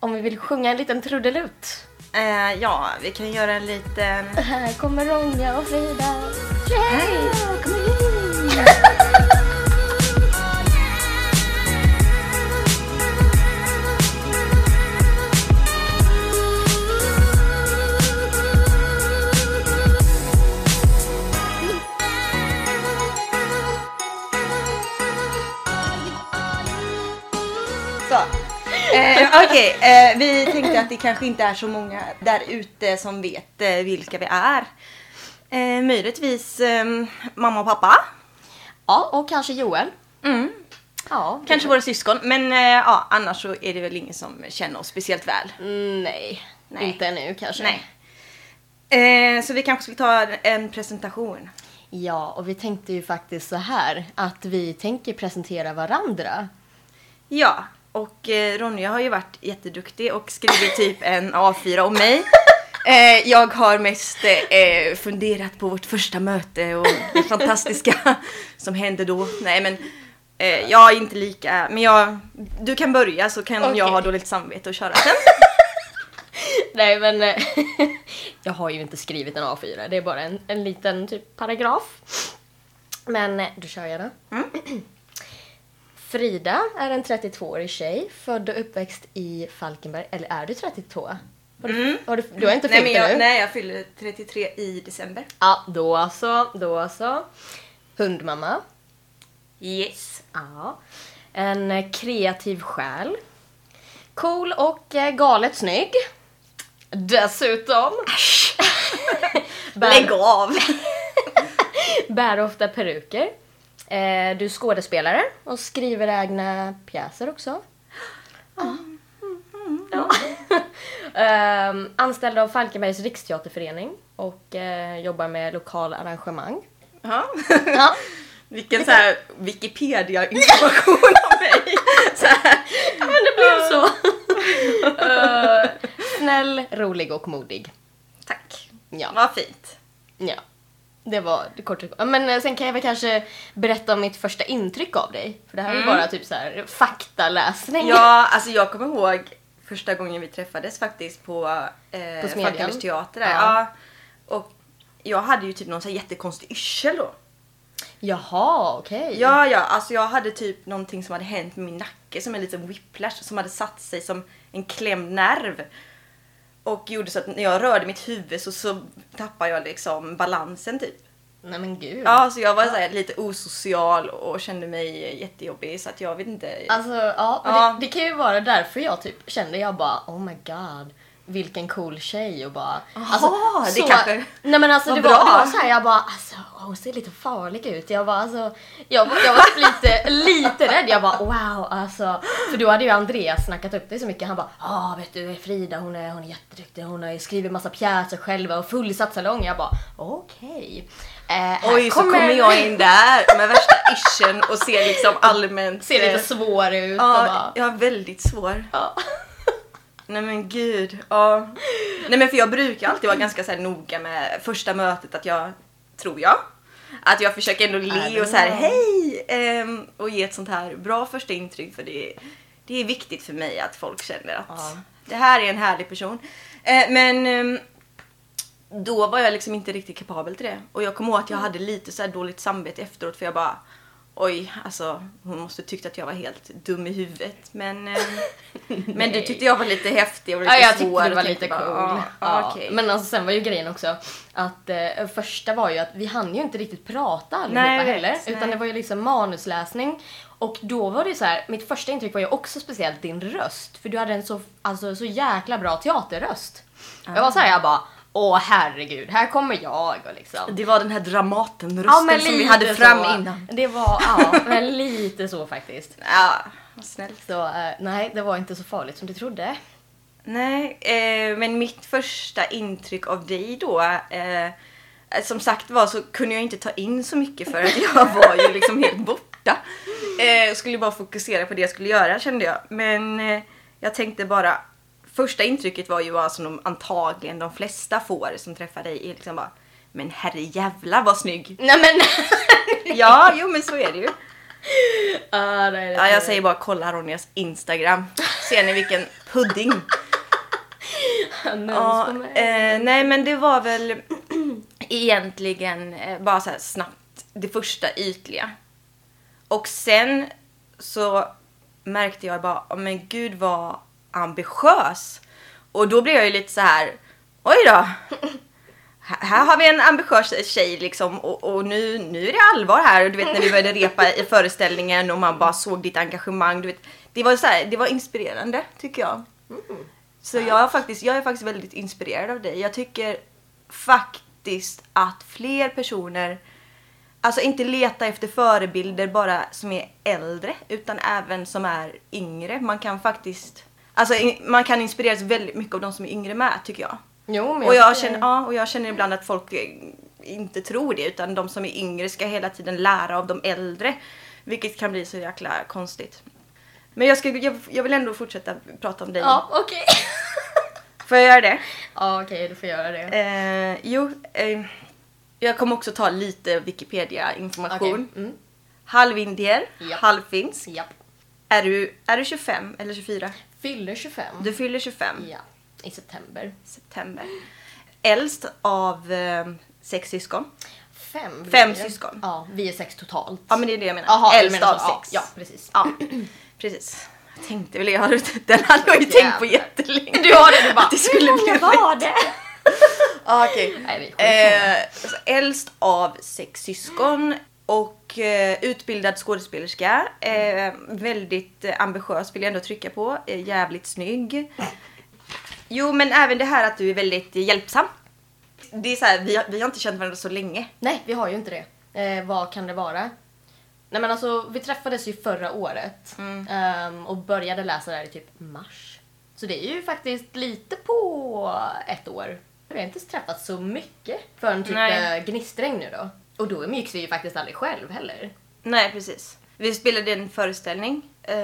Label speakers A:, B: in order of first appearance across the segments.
A: om vi vill sjunga en liten trudelutt.
B: Eh, ja, vi kan göra en liten...
A: Här kommer Ronja och Frida.
B: Hej! Så. Eh, Okej, eh, vi tänkte att det kanske inte är så många där ute som vet eh, vilka vi är. Eh, möjligtvis eh, mamma och pappa.
A: Ja, och kanske Joel.
B: Mm.
A: Ja.
B: Kanske våra syskon, men eh, ja, annars så är det väl ingen som känner oss speciellt väl.
A: Mm, Nej,
B: Nej.
A: inte nu kanske.
B: Nej. Eh, så vi kanske skulle ta en presentation.
A: Ja, och vi tänkte ju faktiskt så här att vi tänker presentera varandra.
B: Ja, och eh, Ronja har ju varit jätteduktig och skrivit typ en A4 om mig. Eh, jag har mest eh, funderat på vårt första möte och det fantastiska som hände då. Nej men, eh, jag är inte lika, men jag, du kan börja så kan jag
A: Okej.
B: ha dåligt samvete och köra sen.
A: Nej men, eh, jag har ju inte skrivit en A4, det är bara en, en liten typ paragraf. Men eh, då kör jag då.
B: Mm.
A: Frida är en 32-årig tjej, född och uppväxt i Falkenberg. Eller är du 32? Har du, har du, du har inte
B: Mm. nej,
A: fyllt
B: men
A: det nu?
B: jag, nej, jag fyller 33 i december.
A: Ja, då så, då så. Hundmamma.
B: Yes.
A: Ja. En eh, kreativ själ. Cool och eh, galet snygg. Dessutom.
B: Lägg
A: bär,
B: av!
A: bär ofta peruker. Eh, du är skådespelare och skriver egna pjäser också. Ja. Ehm, anställd av Falkenbergs riksteaterförening och eh, jobbar med lokal arrangemang.
B: Ja.
A: Ja.
B: Vilken så här Wikipedia-information om mig. Så här.
A: Ja, men det blev så. Eh, snäll, rolig och modig.
B: Tack.
A: Ja.
B: Vad fint.
A: ja. Det var det kort och- Ja, Men eh, sen kan jag väl kanske berätta om mitt första intryck av dig. För det här är ju bara typ så här faktaläsning.
B: Mm. Ja, alltså jag kommer ihåg första gången vi träffades faktiskt på, eh,
A: På Smedjan.
B: Falkenbergs teater. Där.
A: Ja.
B: Ja. Och jag hade ju typ någon så här jättekonstig yrsel då.
A: Mm. Jaha, okej.
B: Ja, ja, alltså jag hade typ någonting som hade hänt med min nacke som en liten whiplash som hade satt sig som en klämd nerv. Och gjorde så att när jag rörde mitt huvud så, så tappade jag liksom balansen typ.
A: Nej men gud.
B: Ja, så jag var så här lite osocial och kände mig jättejobbig så att jag vet inte.
A: Alltså, ja, men
B: Ja.
A: Det, det kan ju vara därför jag typ kände jag bara oh my god. Vilken cool tjej och bara... alltså,
B: Aha, det kanske
A: Nej men alltså
B: var
A: det var, det
B: bra.
A: var såhär jag bara alltså hon ser lite farlig ut. Jag bara alltså... Jag, var- jag var typ lite, lite rädd. Jag bara wow alltså. För då hade ju Andreas snackat upp det så mycket. Han bara ja vet du Frida hon är, hon är jätteduktig. Hon har ju skrivit massa pjäser själva och fullsatt salong. Jag bara okej. Eh, här
B: Oj, så kommer jag in där med värsta ischen och ser liksom allmänt...
A: Ser lite
B: eh,
A: svår ut och
B: Ja,
A: bara...
B: jag är väldigt svår.
A: Ja.
B: Nej men gud. Ja. Nej men för jag brukar alltid vara ganska så här noga med första mötet att jag, tror jag, att jag försöker ändå le och så här hej ehm, och ge ett sånt här bra första intryck för det, det är viktigt för mig att folk känner att
A: Ja.
B: det här är en härlig person. Eh, men ehm, då var jag liksom inte riktigt kapabel till det. Och jag kommer ihåg att jag hade lite så här dåligt samvete efteråt för jag bara Oj, alltså hon måste tyckt att jag var helt dum i huvudet. Men, eh, men du
A: Nej.
B: tyckte jag var lite häftig och lite
A: Ja, jag
B: svår.
A: tyckte det
B: och
A: var
B: tänkte
A: lite cool.
B: bara,
A: Ja,
B: Ja, okej.
A: "Ah, Men alltså, sen var ju grejen också att eh, första var ju att vi hann ju inte riktigt prata allihopa
B: Nej, jag vet.
A: heller.
B: Nej.
A: Utan det var ju liksom manusläsning. Och då var det ju så här, mitt första intryck var ju också speciellt din röst. För du hade en så, alltså, så jäkla bra teaterröst. Jag var så här, jag bara Åh herregud, här kommer jag och liksom.
B: Det var den här dramaten,
A: Ja,
B: rösten
A: men
B: som vi
A: lite
B: hade fram
A: så.
B: innan.
A: Det var, ja, men lite så faktiskt.
B: Ja, vad snällt.
A: Så eh, nej, det var inte så farligt som du trodde.
B: Nej, eh, men mitt första intryck av dig då, eh, som sagt var så kunde jag inte ta in så mycket för att jag var ju liksom helt borta. Eh, jag skulle bara fokusera på det jag skulle göra kände jag. Men eh, jag tänkte bara, första intrycket var ju vad som de, antagligen de flesta får som träffar dig är liksom bara men herrejävlar vad snygg!
A: Nej men!
B: Ja, jo men så är det ju.
A: ah, nej, det
B: Ja, jag säger bara kolla Ronjas Instagram. Ser ni vilken pudding?
A: Mums
B: Ja,
A: på mig.
B: eh, nej men det var väl egentligen eh, bara så här snabbt det första ytliga. Och sen så märkte jag bara, "Åh, men gud vad ambitiös. Och då blev jag ju lite så här, oj då. Här- Här har vi en ambitiös tjej liksom och, och nu, nu är det allvar här. Och du vet när vi började repa i föreställningen och man bara såg ditt engagemang. Du vet, det, var så här, det var inspirerande tycker jag. Så jag är, faktiskt, jag är faktiskt väldigt inspirerad av dig. Jag tycker faktiskt att fler personer, alltså inte leta efter förebilder bara som är äldre, utan även som är yngre. Man kan faktiskt, alltså in- man kan inspireras väldigt mycket av de som är yngre med tycker jag.
A: Jo, men
B: Och jag,
A: tycker-
B: känner, ja, och jag känner ibland att folk eh, inte tror det utan de som är yngre ska hela tiden lära av de äldre. Vilket kan bli så jäkla konstigt. Men jag, ska, jag, jag vill ändå fortsätta prata om dig.
A: Ja, okej.
B: Får jag göra det?
A: ja, okej, du får göra det.
B: Eh, jo, eh, jag kommer också ta lite Wikipedia-information.
A: Okej. Mm.
B: Halvindier,
A: Japp.
B: halvfinsk.
A: Japp.
B: Är du, är du 25 eller 24?
A: Fyller 25.
B: Du fyller 25
A: Ja, i september.
B: september. Äldst av eh, sex syskon.
A: Fem. blir
B: Fem
A: det.
B: syskon.
A: Ja, vi är sex totalt.
B: Ja men det är det jag menar.
A: Jaha, du
B: Äldst
A: menar
B: av
A: så.
B: sex.
A: Ja, ja, precis.
B: Ja, precis. Jag tänkte väl, jag hade, den hade jag ju tänkt på
A: Jävlar.
B: jättelänge.
A: Du har det, du bara
B: Att det skulle
A: Hur
B: bli
A: många var det?
B: Ah, okay.
A: Nej, vi skiter
B: eh, alltså, äldst av sex syskon och eh, utbildad skådespelerska. Eh, väldigt eh, ambitiös vill jag ändå trycka på. Eh, jävligt snygg. Jo men även det här att du är väldigt eh, hjälpsam. Det är så här, vi, har, vi har inte känt varandra så länge.
A: Nej, vi har ju inte det. Eh, vad kan det vara? Nej men alltså, vi träffades ju förra året
B: Mm.
A: ehm, och började läsa där i typ mars. Så det är ju faktiskt lite på ett år. Vi har inte träffats så mycket förrän typ
B: Nej.
A: eh, Gnistregn nu då. Och då umgicks vi ju faktiskt aldrig själv heller.
B: Nej precis. Vi spelade en föreställning eh,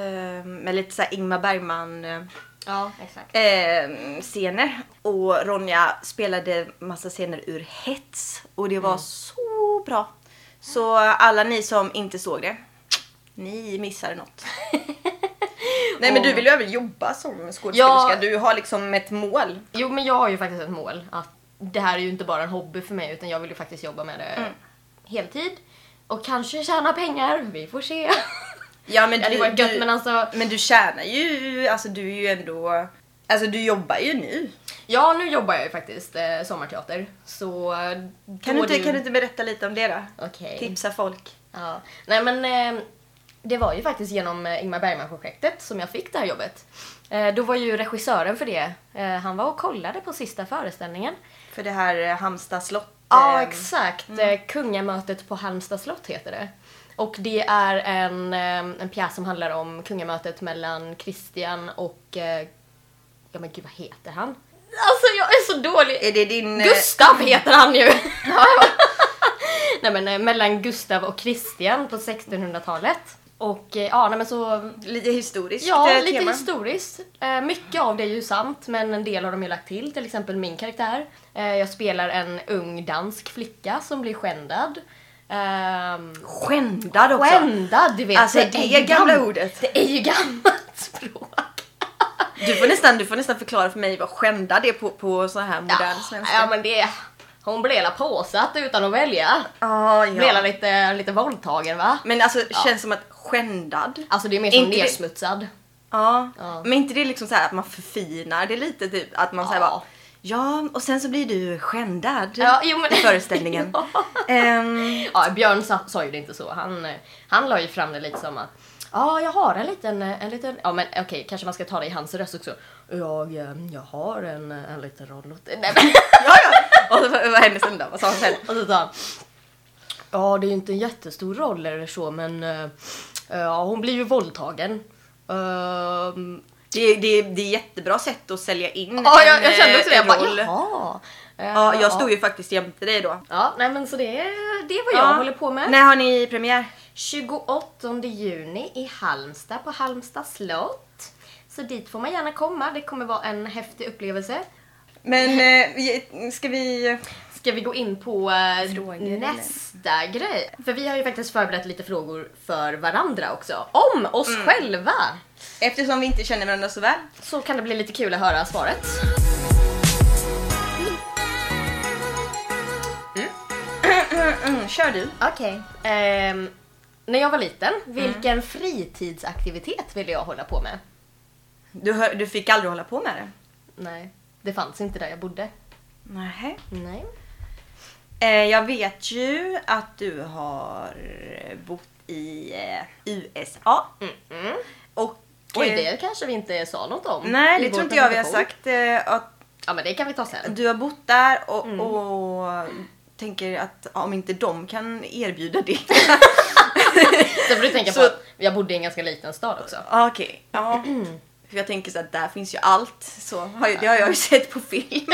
B: med lite så här Ingmar Bergman eh,
A: Ja, exakt.
B: eh, scener och Ronja spelade massa scener ur hets och det var så bra. Så alla ni som inte såg det, ni missade något. Nej men du vill ju även jobba som skådespelerska,
A: Ja.
B: du har liksom ett mål.
A: Jo men jag har ju faktiskt ett mål att det här är ju inte bara en hobby för mig utan jag vill ju faktiskt jobba med det
B: Mm.
A: heltid. Och kanske tjäna pengar, vi får se.
B: Ja men
A: det hade varit gött men alltså
B: men du tjänar ju, alltså du är ju ändå, alltså du jobbar ju nu.
A: Ja, nu jobbar jag ju faktiskt eh, sommarteater. Så... eh,
B: Kan
A: då
B: du, inte,
A: är det
B: kan du inte berätta lite om det då?
A: Okej.
B: Tipsa folk.
A: Ja. Nej men, eh, det var ju faktiskt genom eh, Ingmar Bergman-projektet som jag fick det här jobbet. Eh, då var ju regissören för det, eh, han var och kollade på sista föreställningen.
B: För det här eh, Halmstad slott.
A: Ja,
B: eh,
A: exakt. Eh, Kungamötet på Halmstad slott heter det. Och det är en, eh, en pjäs som handlar om kungamötet mellan Kristian och... eh, Ja men gud, vad heter han? Alltså jag är så dålig!
B: Är det din... eh,
A: Gustav heter han ju! nej men eh, mellan Gustav och Kristian på 1600-talet. Och eh, ja, nej men så...
B: Lite historiskt
A: Ja,
B: eh,
A: lite
B: tema.
A: historiskt. Eh, mycket av det är ju sant, men en del har de ju lagt till. Till exempel min karaktär. Eh, jag spelar en ung dansk flicka som blir skändad. Ehm,
B: Skändad också!
A: skändad, du vet.
B: Alltså, det
A: ju
B: gamla
A: gam-
B: ordet.
A: Det är ju gammalt språk.
B: Du, får nästan, du får nästan förklara för mig vad skändad är på, på så här modern svenska.
A: ja, men det... Hon blev hela påsatt utan att välja.
B: Ah,
A: Blev hela lite, lite våldtagen va?
B: Men alltså känns som att skändad.
A: Alltså det är mer som
B: Inte det-
A: nedsmutsad.
B: Ja.
A: Ja.
B: Men inte det liksom så här att man förfinar det lite typ att man säger
A: Ja.
B: bara Ja, och sen så blir du skändad
A: Ja, jo, men-
B: i föreställningen.
A: Ja.
B: Ehm,
A: Ja, Björn sa, sa ju det inte så. Han, eh, han la ju fram det lite som att Ja, jag har en liten, eh, en liten, ja men okej, kanske man ska ta det i hans röst också. Jag, eh, jag har en, eh, en liten roll åt dig. Nej, men-
B: ja, ja. Och så, vad hände sen då? Vad sa han sen?
A: Och så sa han. Ja, det är ju inte en jättestor roll eller så, men eh, ja, hon blir ju våldtagen. Ehm,
B: Det, det, det är jättebra sätt att sälja in
A: ja, jag,
B: en,
A: jag kände också det.
B: eh,
A: Jag bara,
B: roll.
A: jaha. Eh,
B: Ja, jag stod ju faktiskt jämte dig då.
A: Ja, nej men så det, är- det är vad jag
B: Ja.
A: håller på med.
B: När har ni premiär?
A: 28 juni i Halmstad på Halmstad slott. Så dit får man gärna komma, det kommer vara en häftig upplevelse.
B: Men eh, vi- ska vi...
A: Ska vi gå in på eh,
B: Frågor, eller?
A: nästa grej? För vi har ju faktiskt förberett lite frågor för varandra också. Om oss
B: Mm.
A: själva!
B: Eftersom vi inte känner varandra så väl.
A: Så kan det bli lite kul att höra svaret.
B: Mm, kör du.
A: Okej. Ehm, när jag var liten,
B: Mm.
A: vilken fritidsaktivitet ville jag hålla på med?
B: Du, hör, du fick aldrig hålla på med det?
A: Nej, det fanns inte där jag bodde.
B: Nej.
A: Nej.
B: Eh, jag vet ju att du har bott i eh, USA.
A: Mm-mm.
B: Och,
A: Oj,
B: eh,
A: det kanske vi inte sa något om.
B: Nej,
A: i
B: det
A: vår
B: tror inte jag vi har
A: presentation.
B: sagt. Eh, att
A: Ja, men det kan vi ta sen.
B: Du har bott där och, och tänker att om inte de kan erbjuda det.
A: Sen får du tänka
B: Så-
A: på att jag bodde i en ganska liten stad också.
B: Ja, Ah, Okej. Ja. För jag tänker så att där finns ju allt. Så har ju, det har jag ju sett på film.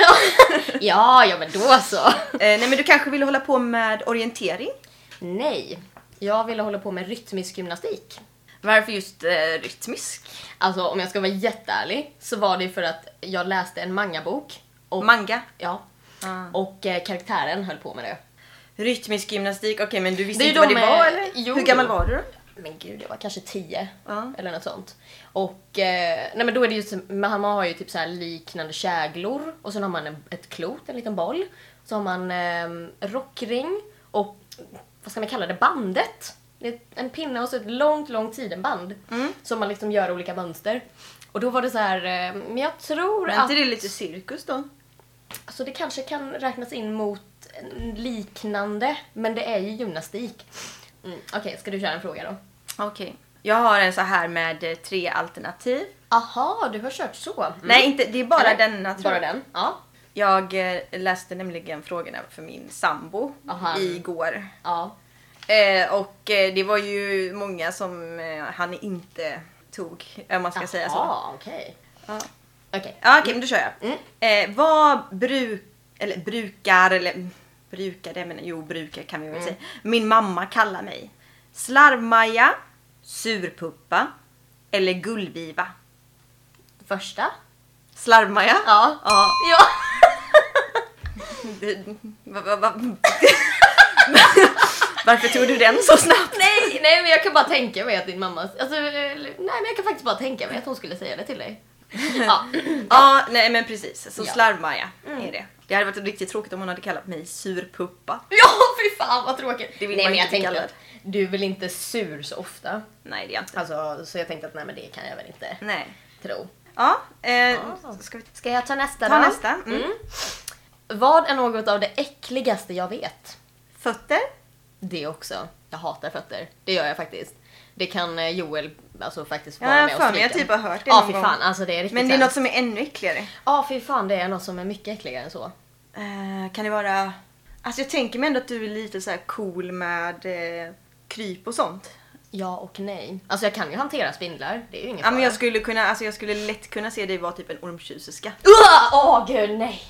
A: ja, ja men då så.
B: Eh, nej men du kanske vill hålla på med orientering?
A: Nej, jag ville hålla på med rytmisk gymnastik.
B: Varför just eh, rytmisk?
A: Alltså om jag ska vara jätteärlig så var det för att jag läste en mangabok. Och,
B: Manga?
A: ja,
B: Ah.
A: och eh, karaktären höll på med det.
B: Rytmisk gymnastik, okej men du visste
A: Det är
B: inte
A: ju
B: vad det
A: de,
B: var
A: eh,
B: eller?
A: jo.
B: Hur gammal var du då?
A: Men gud, jag var kanske 10
B: Ja.
A: eller något sånt. Och eh, nej men då är det ju, som- mamma har ju typ så här liknande käglor och sen har man en, ett klot, en liten boll. Så har man eh, rockring och vad ska man kalla det, bandet. Det är en pinne och så ett långt, långt sidenband
B: Mm.
A: som man liksom gör olika mönster. Och då var det så här, eh, men jag tror
B: Var
A: att...
B: inte det lite cirkus då?
A: Alltså det kanske kan räknas in mot en liknande, men det är ju gymnastik. Mm, Okej, ska du köra en fråga då?
B: Okej. Jag har en så här med eh, tre alternativ.
A: Aha, du har kört så? Mm.
B: Nej inte, det är bara
A: Eller?
B: denna tror
A: Bara
B: jag.
A: den? alltså. Ja.
B: Jag eh, läste nämligen frågorna för min sambo
A: Aha.
B: igår.
A: ja.
B: Eh, och eh, det var ju många som eh, han inte tog, om man ska säga så.
A: Jaha, okej.
B: Ja.
A: Okej.
B: Ja, Okej, men då kör jag.
A: Mm.
B: Eh, vad bruk, eller brukar, eller mm, brukar det, men jo brukar kan vi väl
A: Mm.
B: säga. Min mamma kallar mig. Slarvmaja, surpuppa eller gullviva.
A: Första?
B: Slarvmaja?
A: Ja.
B: ja.
A: Ja.
B: Det- va- va- va- Varför tog du den så snabbt?
A: nej, nej men jag kan bara tänka mig att din mamma... Alltså, eller- nej men jag kan faktiskt bara tänka mig att hon skulle säga det till dig. Ja.
B: Ja, nej men precis. Så
A: Ja.
B: slarvmaja är det. Det hade varit riktigt tråkigt om hon hade kallat mig surpuppa.
A: Ja, fy fan vad tråkigt!
B: Det vill
A: nej
B: man
A: men
B: inte
A: jag
B: bli
A: tänkte
B: kallad.
A: att du är väl inte sur så ofta?
B: Nej, det är jag inte.
A: Alltså, så jag tänkte att nej men det kan jag väl inte
B: Nej.
A: tro.
B: Ja, eh,
A: Ah.
B: ska vi ta
A: Ska jag ta nästa
B: Ta
A: då?
B: nästa? Mm.
A: Vad är något av det äckligaste jag vet?
B: Fötter?
A: Det också. Jag hatar fötter. Det gör jag faktiskt. Det kan eh, Joel alltså, faktiskt
B: Ja,
A: vara
B: jag
A: med och
B: för mig
A: stryka.
B: jag typ har hört det
A: Ja,
B: någon
A: fy
B: gång.
A: fan. Alltså det är riktigt
B: Men det är något
A: hemskt.
B: som är ännu äckligare.
A: Ja, fy fan. Det är något som är mycket äckligare än så.
B: Eh, kan det vara... Alltså jag tänker mig ändå att du är lite så här cool med eh, kryp och sånt.
A: Ja och nej. Alltså jag kan ju hantera spindlar. Det är ju inget
B: Ja, men
A: fara.
B: jag skulle, kunna, alltså jag skulle lätt kunna se dig vara typ en ormtjusiska.
A: Uah! Åh gud, nej!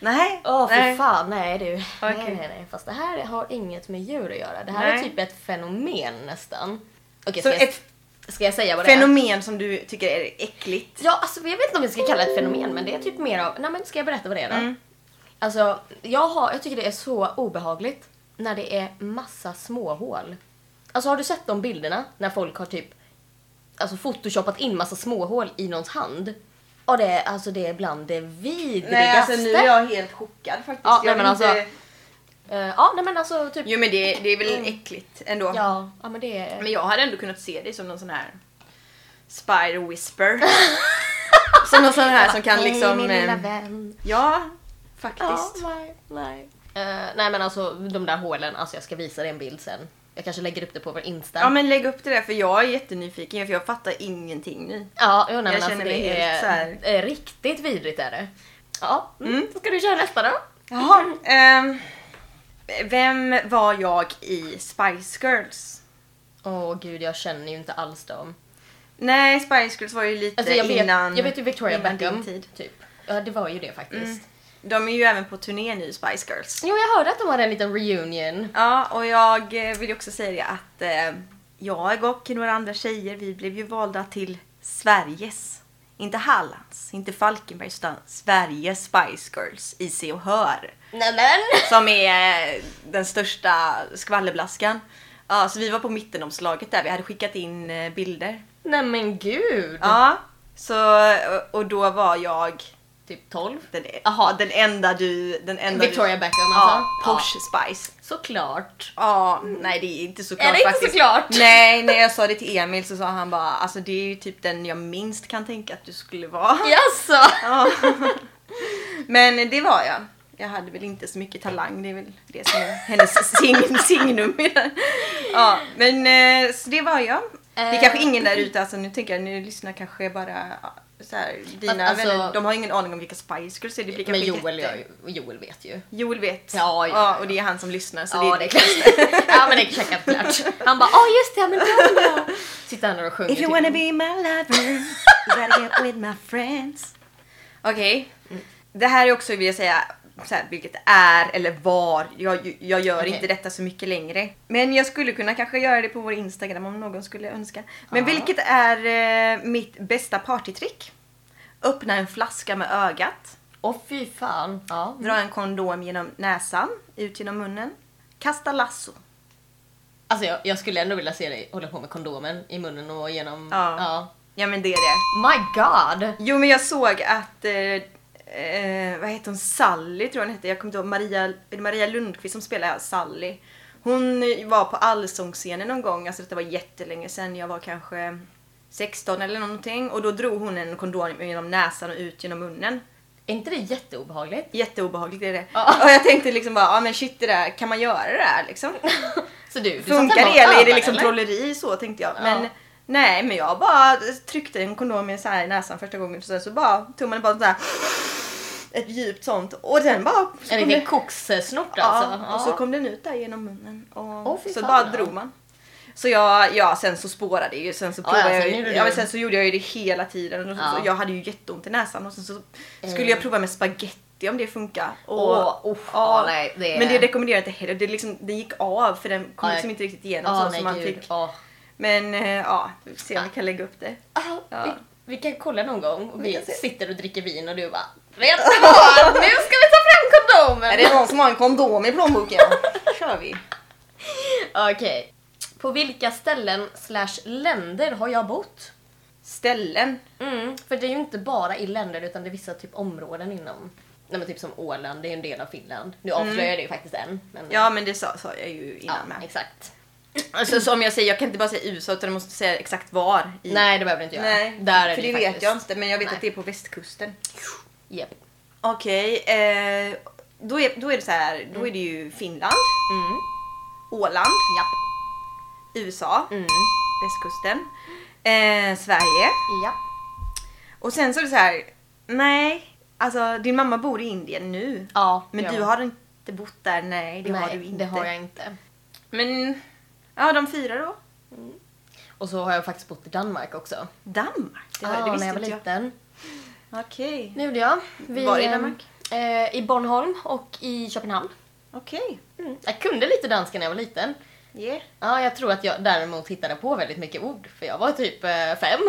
B: Nej.
A: Åh fy
B: nej.
A: fan, nej du. Nej,
B: Okej.
A: nej, nej. Fast det här har inget med djur att göra. Det här är
B: Nej.
A: typ ett fenomen nästan. Okej,
B: Så
A: ska, jag-
B: ett
A: ska jag säga vad det är?
B: Fenomen som du tycker är äckligt.
A: Ja, alltså jag vet inte om vi ska kalla det ett fenomen, men det är typ mer av... Nej men ska jag berätta vad det är då?
B: Mm.
A: Alltså, jag, har, jag tycker det är så obehagligt när det är massa små hål. Alltså har du sett de bilderna när folk har typ alltså photoshopat in massa små hål i någons hand? Ja, det är, alltså det är bland det vidrigaste.
B: Nej alltså nu är jag helt chockad faktiskt.
A: Ja, nej,
B: jag
A: men
B: vet inte-
A: alltså- Eh, ja, nej men alltså typ...
B: Jo men det, det är väl
A: Mm.
B: äckligt ändå.
A: Ja, ja men det är...
B: Men jag hade ändå kunnat se dig som någon sån här spider whisper. som någon sån här som kan liksom...
A: Hej, min lilla
B: eh,
A: vän.
B: ja,
A: Ja,
B: faktiskt.
A: nej, nej. Eh, nej men alltså de där hålen, alltså jag ska visa dig en bild sen. Jag kanske lägger upp det på vår Insta.
B: Ja men lägg upp det där för jag är jättenyfiken för jag fattar ingenting nu.
A: Ja, jo, nej, men
B: Jag
A: alltså,
B: känner mig
A: det
B: helt
A: är,
B: så här-
A: är eh, riktigt vidrigt är det. Ja, mm. då ska du köra nästa då.
B: Jaha. ehm, vem var jag i Spice Girls?
A: Åh gud, jag känner ju inte alls dem.
B: Nej, Spice Girls var ju lite
A: Alltså, jag,
B: innan
A: vet, jag vet ju Victoria
B: innan din
A: Beckham,
B: tid. Mm.
A: typ. Ja, det var ju det faktiskt.
B: De är ju även på turné nu, Spice Girls.
A: Jo, jag hörde att de hade en liten reunion.
B: Ja, och jag eh, vill ju också säga det att eh, jag och några andra tjejer, vi blev ju valda till Sveriges. Inte Hallands, inte Falkenbergs, utan Sveriges Spice Girls i Se och Hör.
A: Nej men!
B: Som är eh, den största skvallerblaskan. Ja, så vi var på mittenomslaget där, vi hade skickat in eh, bilder.
A: Nej men gud!
B: Ja, så, och då var jag
A: typ 12.
B: Den, är-
A: Jaha.
B: den enda du... Den enda
A: Victoria
B: du,
A: Beckham
B: Ja,
A: alltså.
B: Porsche Spice.
A: Ja, Såklart.
B: Ja, nej det är inte så klart
A: Är det inte
B: faktiskt.
A: såklart?
B: Nej, när jag sa det till Emil så sa han bara alltså det är ju typ den jag minst kan tänka att du skulle vara.
A: Jaså?
B: Ja. Men det var jag. Jag hade väl inte så mycket talang, det är väl det som är hennes sign, signum. i det. Ja, men eh, så det var jag. Det är
A: Eh.
B: kanske ingen där ute, alltså nu tänker jag, nu lyssnar kanske bara ja, så här, dina
A: Alltså-
B: vänner, de har ingen aning om vilka Spice Girls är. Det blir
A: Men
B: kanske
A: Joel,
B: jätte-
A: gör ju- Joel vet ju.
B: Joel vet.
A: Ja, ja, ja.
B: och det är han som lyssnar. Så
A: ja,
B: det
A: det är klart. ja, men det är checkat klart. Han bara, åh just det, ja, men den ja." Sitter han där och sjunger.
B: If you
A: typ.
B: wanna be my lover, you gotta get with my friends. Okej. Det här är också, vill jag säga, så här, vilket är eller var. Jag, jag gör
A: Okej.
B: inte detta så mycket längre. Men jag skulle kunna kanske göra det på vår Instagram om någon skulle önska. Men
A: Ja.
B: vilket är eh, mitt bästa partytrick? Öppna en flaska med ögat.
A: Åh fy fan. Ja.
B: Dra en kondom genom näsan, ut genom munnen. Kasta lasso.
A: Alltså jag, jag skulle ändå vilja se dig hålla på med kondomen i munnen och genom...
B: Ja. Ja men det är det.
A: My god!
B: Jo men jag såg att, eh, eh, vad heter hon, Sally tror jag hon hette, jag kommer inte ihåg, Maria, är det Maria Lundqvist som spelar Sally. Hon var på allsångsscenen någon gång, alltså detta var jättelänge sedan, jag var kanske 16 eller någonting och då drog hon en kondom genom näsan och ut genom munnen.
A: Är inte det jätteobehagligt?
B: Jätteobehagligt är det.
A: Ja.
B: Och jag tänkte liksom bara, ja men shit det där, kan man göra det där liksom?
A: Så du, du satt
B: Funkar
A: hemma och
B: det eller är det
A: övade,
B: liksom
A: eller?
B: trolleri så tänkte jag.
A: Ja.
B: Men nej, men jag bara tryckte en kondom i så här i näsan första gången och sen så bara tog man bara så här ett djupt sånt och den bara... så
A: En
B: kom
A: riktig
B: det-
A: kokssnopp
B: ja,
A: alltså.
B: och så kom den ut där genom munnen och
A: Åh, fy
B: så
A: fan,
B: bara
A: ja.
B: drog man. Så jag, ja sen så spårade det ju, sen så
A: Ja,
B: provade
A: ja,
B: jag
A: sen
B: ju,
A: gjorde
B: ja,
A: du-
B: men sen så gjorde jag ju det hela tiden och så,
A: Ja.
B: jag hade ju jätteont i näsan och sen så skulle
A: Eh.
B: jag prova med spaghetti om det funkar. Och,
A: Åh, uff, ja, nej, det är-
B: Men det rekommenderar jag inte heller, det liksom, den gick av för den kom
A: Ja,
B: liksom
A: jag-
B: inte riktigt igenom
A: Ja,
B: så
A: nej
B: som man
A: gud.
B: fick.
A: ja.
B: Men eh, ja, vi får se om vi kan lägga upp det.
A: Ah,
B: Ja.
A: vi, vi kan kolla någon gång och
B: Vi
A: vi
B: kan se.
A: sitter och dricker vin och du bara Vet du vad? Nu ska vi ta fram kondomen!
B: någon som har en kondom i plånboken? kör vi.
A: Okej. På vilka ställen slash länder har jag bott?
B: Ställen.
A: Mm, för det är ju inte bara i länder utan det är vissa typ områden inom Nej men typ som Åland, det är ju en del av Finland. Nu avslöjar jag det ju faktiskt än. Men,
B: Mm. Ja men det sa, sa jag ju
A: ja,
B: innan med.
A: exakt.
B: Alltså som jag säger, jag kan inte bara säga USA utan jag måste säga exakt var. I.
A: Nej det behöver du inte göra.
B: Nej,
A: Där är det,
B: för det
A: ju
B: vet
A: faktiskt.
B: jag inte men jag vet
A: Nej.
B: att det är på västkusten.
A: Japp.
B: Okej, eh, då, är, då är det så här, då är det ju Finland,
A: Mm.
B: Åland,
A: Japp.
B: USA,
A: Mm.
B: västkusten, eh, Sverige.
A: Japp.
B: Och sen så är det så här, nej, alltså din mamma bor i Indien nu.
A: Ja.
B: Men
A: ja.
B: du har inte bott där? Nej, det
A: Nej,
B: har du inte.
A: det har jag inte.
B: Men, ja de fyra då?
A: Och så har jag faktiskt bott i Danmark också.
B: Danmark? Det,
A: Ja,
B: var, det
A: när
B: visste
A: jag var
B: inte jag.
A: liten.
B: Okej.
A: Nu gjorde jag. Vi,
B: Var i
A: ehm,
B: Danmark?
A: Eh, I Bornholm och i Köpenhamn.
B: Okej.
A: Mm. Jag kunde lite danska när jag var liten.
B: Yeah.
A: Ja, jag tror att jag däremot hittade på väldigt mycket ord, för jag var typ eh, fem.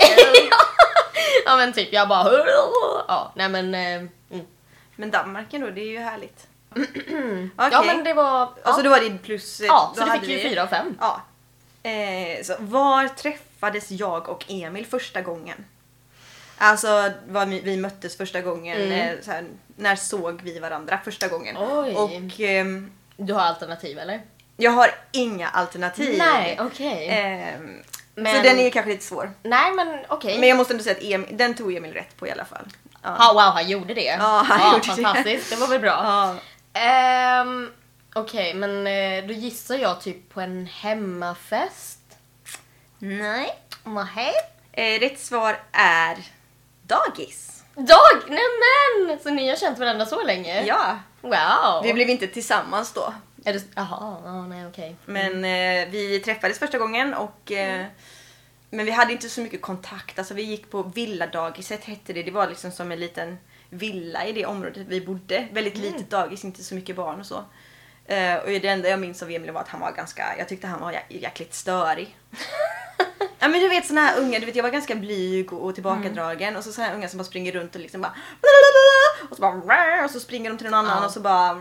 A: ja men typ, jag bara... Ja, nej men... Eh, mm.
B: Men Danmark ändå, det är ju härligt. Okej.
A: Ja men det var... Ja,
B: Alltså då var det plus... eh,
A: ja
B: då
A: så det
B: hade
A: fick ju
B: vi-
A: fyra av fem.
B: Ja. Eh, så var träffades jag och Emil första gången? Alltså var vi, vi möttes första gången,
A: Mm.
B: eh, så här, när såg vi varandra första gången?
A: Oj.
B: Och ehm,
A: Du har alternativ eller?
B: jag har inga alternativ.
A: Nej, okej.
B: Ehm, Så
A: Men- Eh.
B: den är kanske lite svår.
A: Nej men okej.
B: Men jag måste ändå säga att Emil, den tog Emil rätt på i alla fall. Ja.
A: Ja, wow, han gjorde det.
B: Ja, han gjorde det.
A: fantastiskt. Det var väl bra.
B: Ja.
A: Ehm, Okej, men eh, då gissar jag typ på en hemmafest.
B: Nej.
A: Nähä?
B: Eh, rätt svar är dagis.
A: Dag! Nämen! Så ni har känt varandra så länge?
B: Ja.
A: Wow!
B: Vi blev inte tillsammans då.
A: Är du... Jaha, ja, nej okej.
B: Men eh, vi träffades första gången och eh, Men vi hade inte så mycket kontakt. Alltså vi gick på villadagiset hette det. Det var liksom som en liten villa i det området vi bodde. Väldigt litet dagis, inte så mycket barn och så. Eh, och det enda jag minns av Emil var att han var ganska, jag tyckte han var jä- jäkligt störig. ja men du vet såna här unga, du vet jag var ganska blyg och, och tillbakadragen
A: Mm.
B: och så såna här unga som bara springer runt och liksom bara och så bara och så springer de till någon annan
A: Ja.
B: och så bara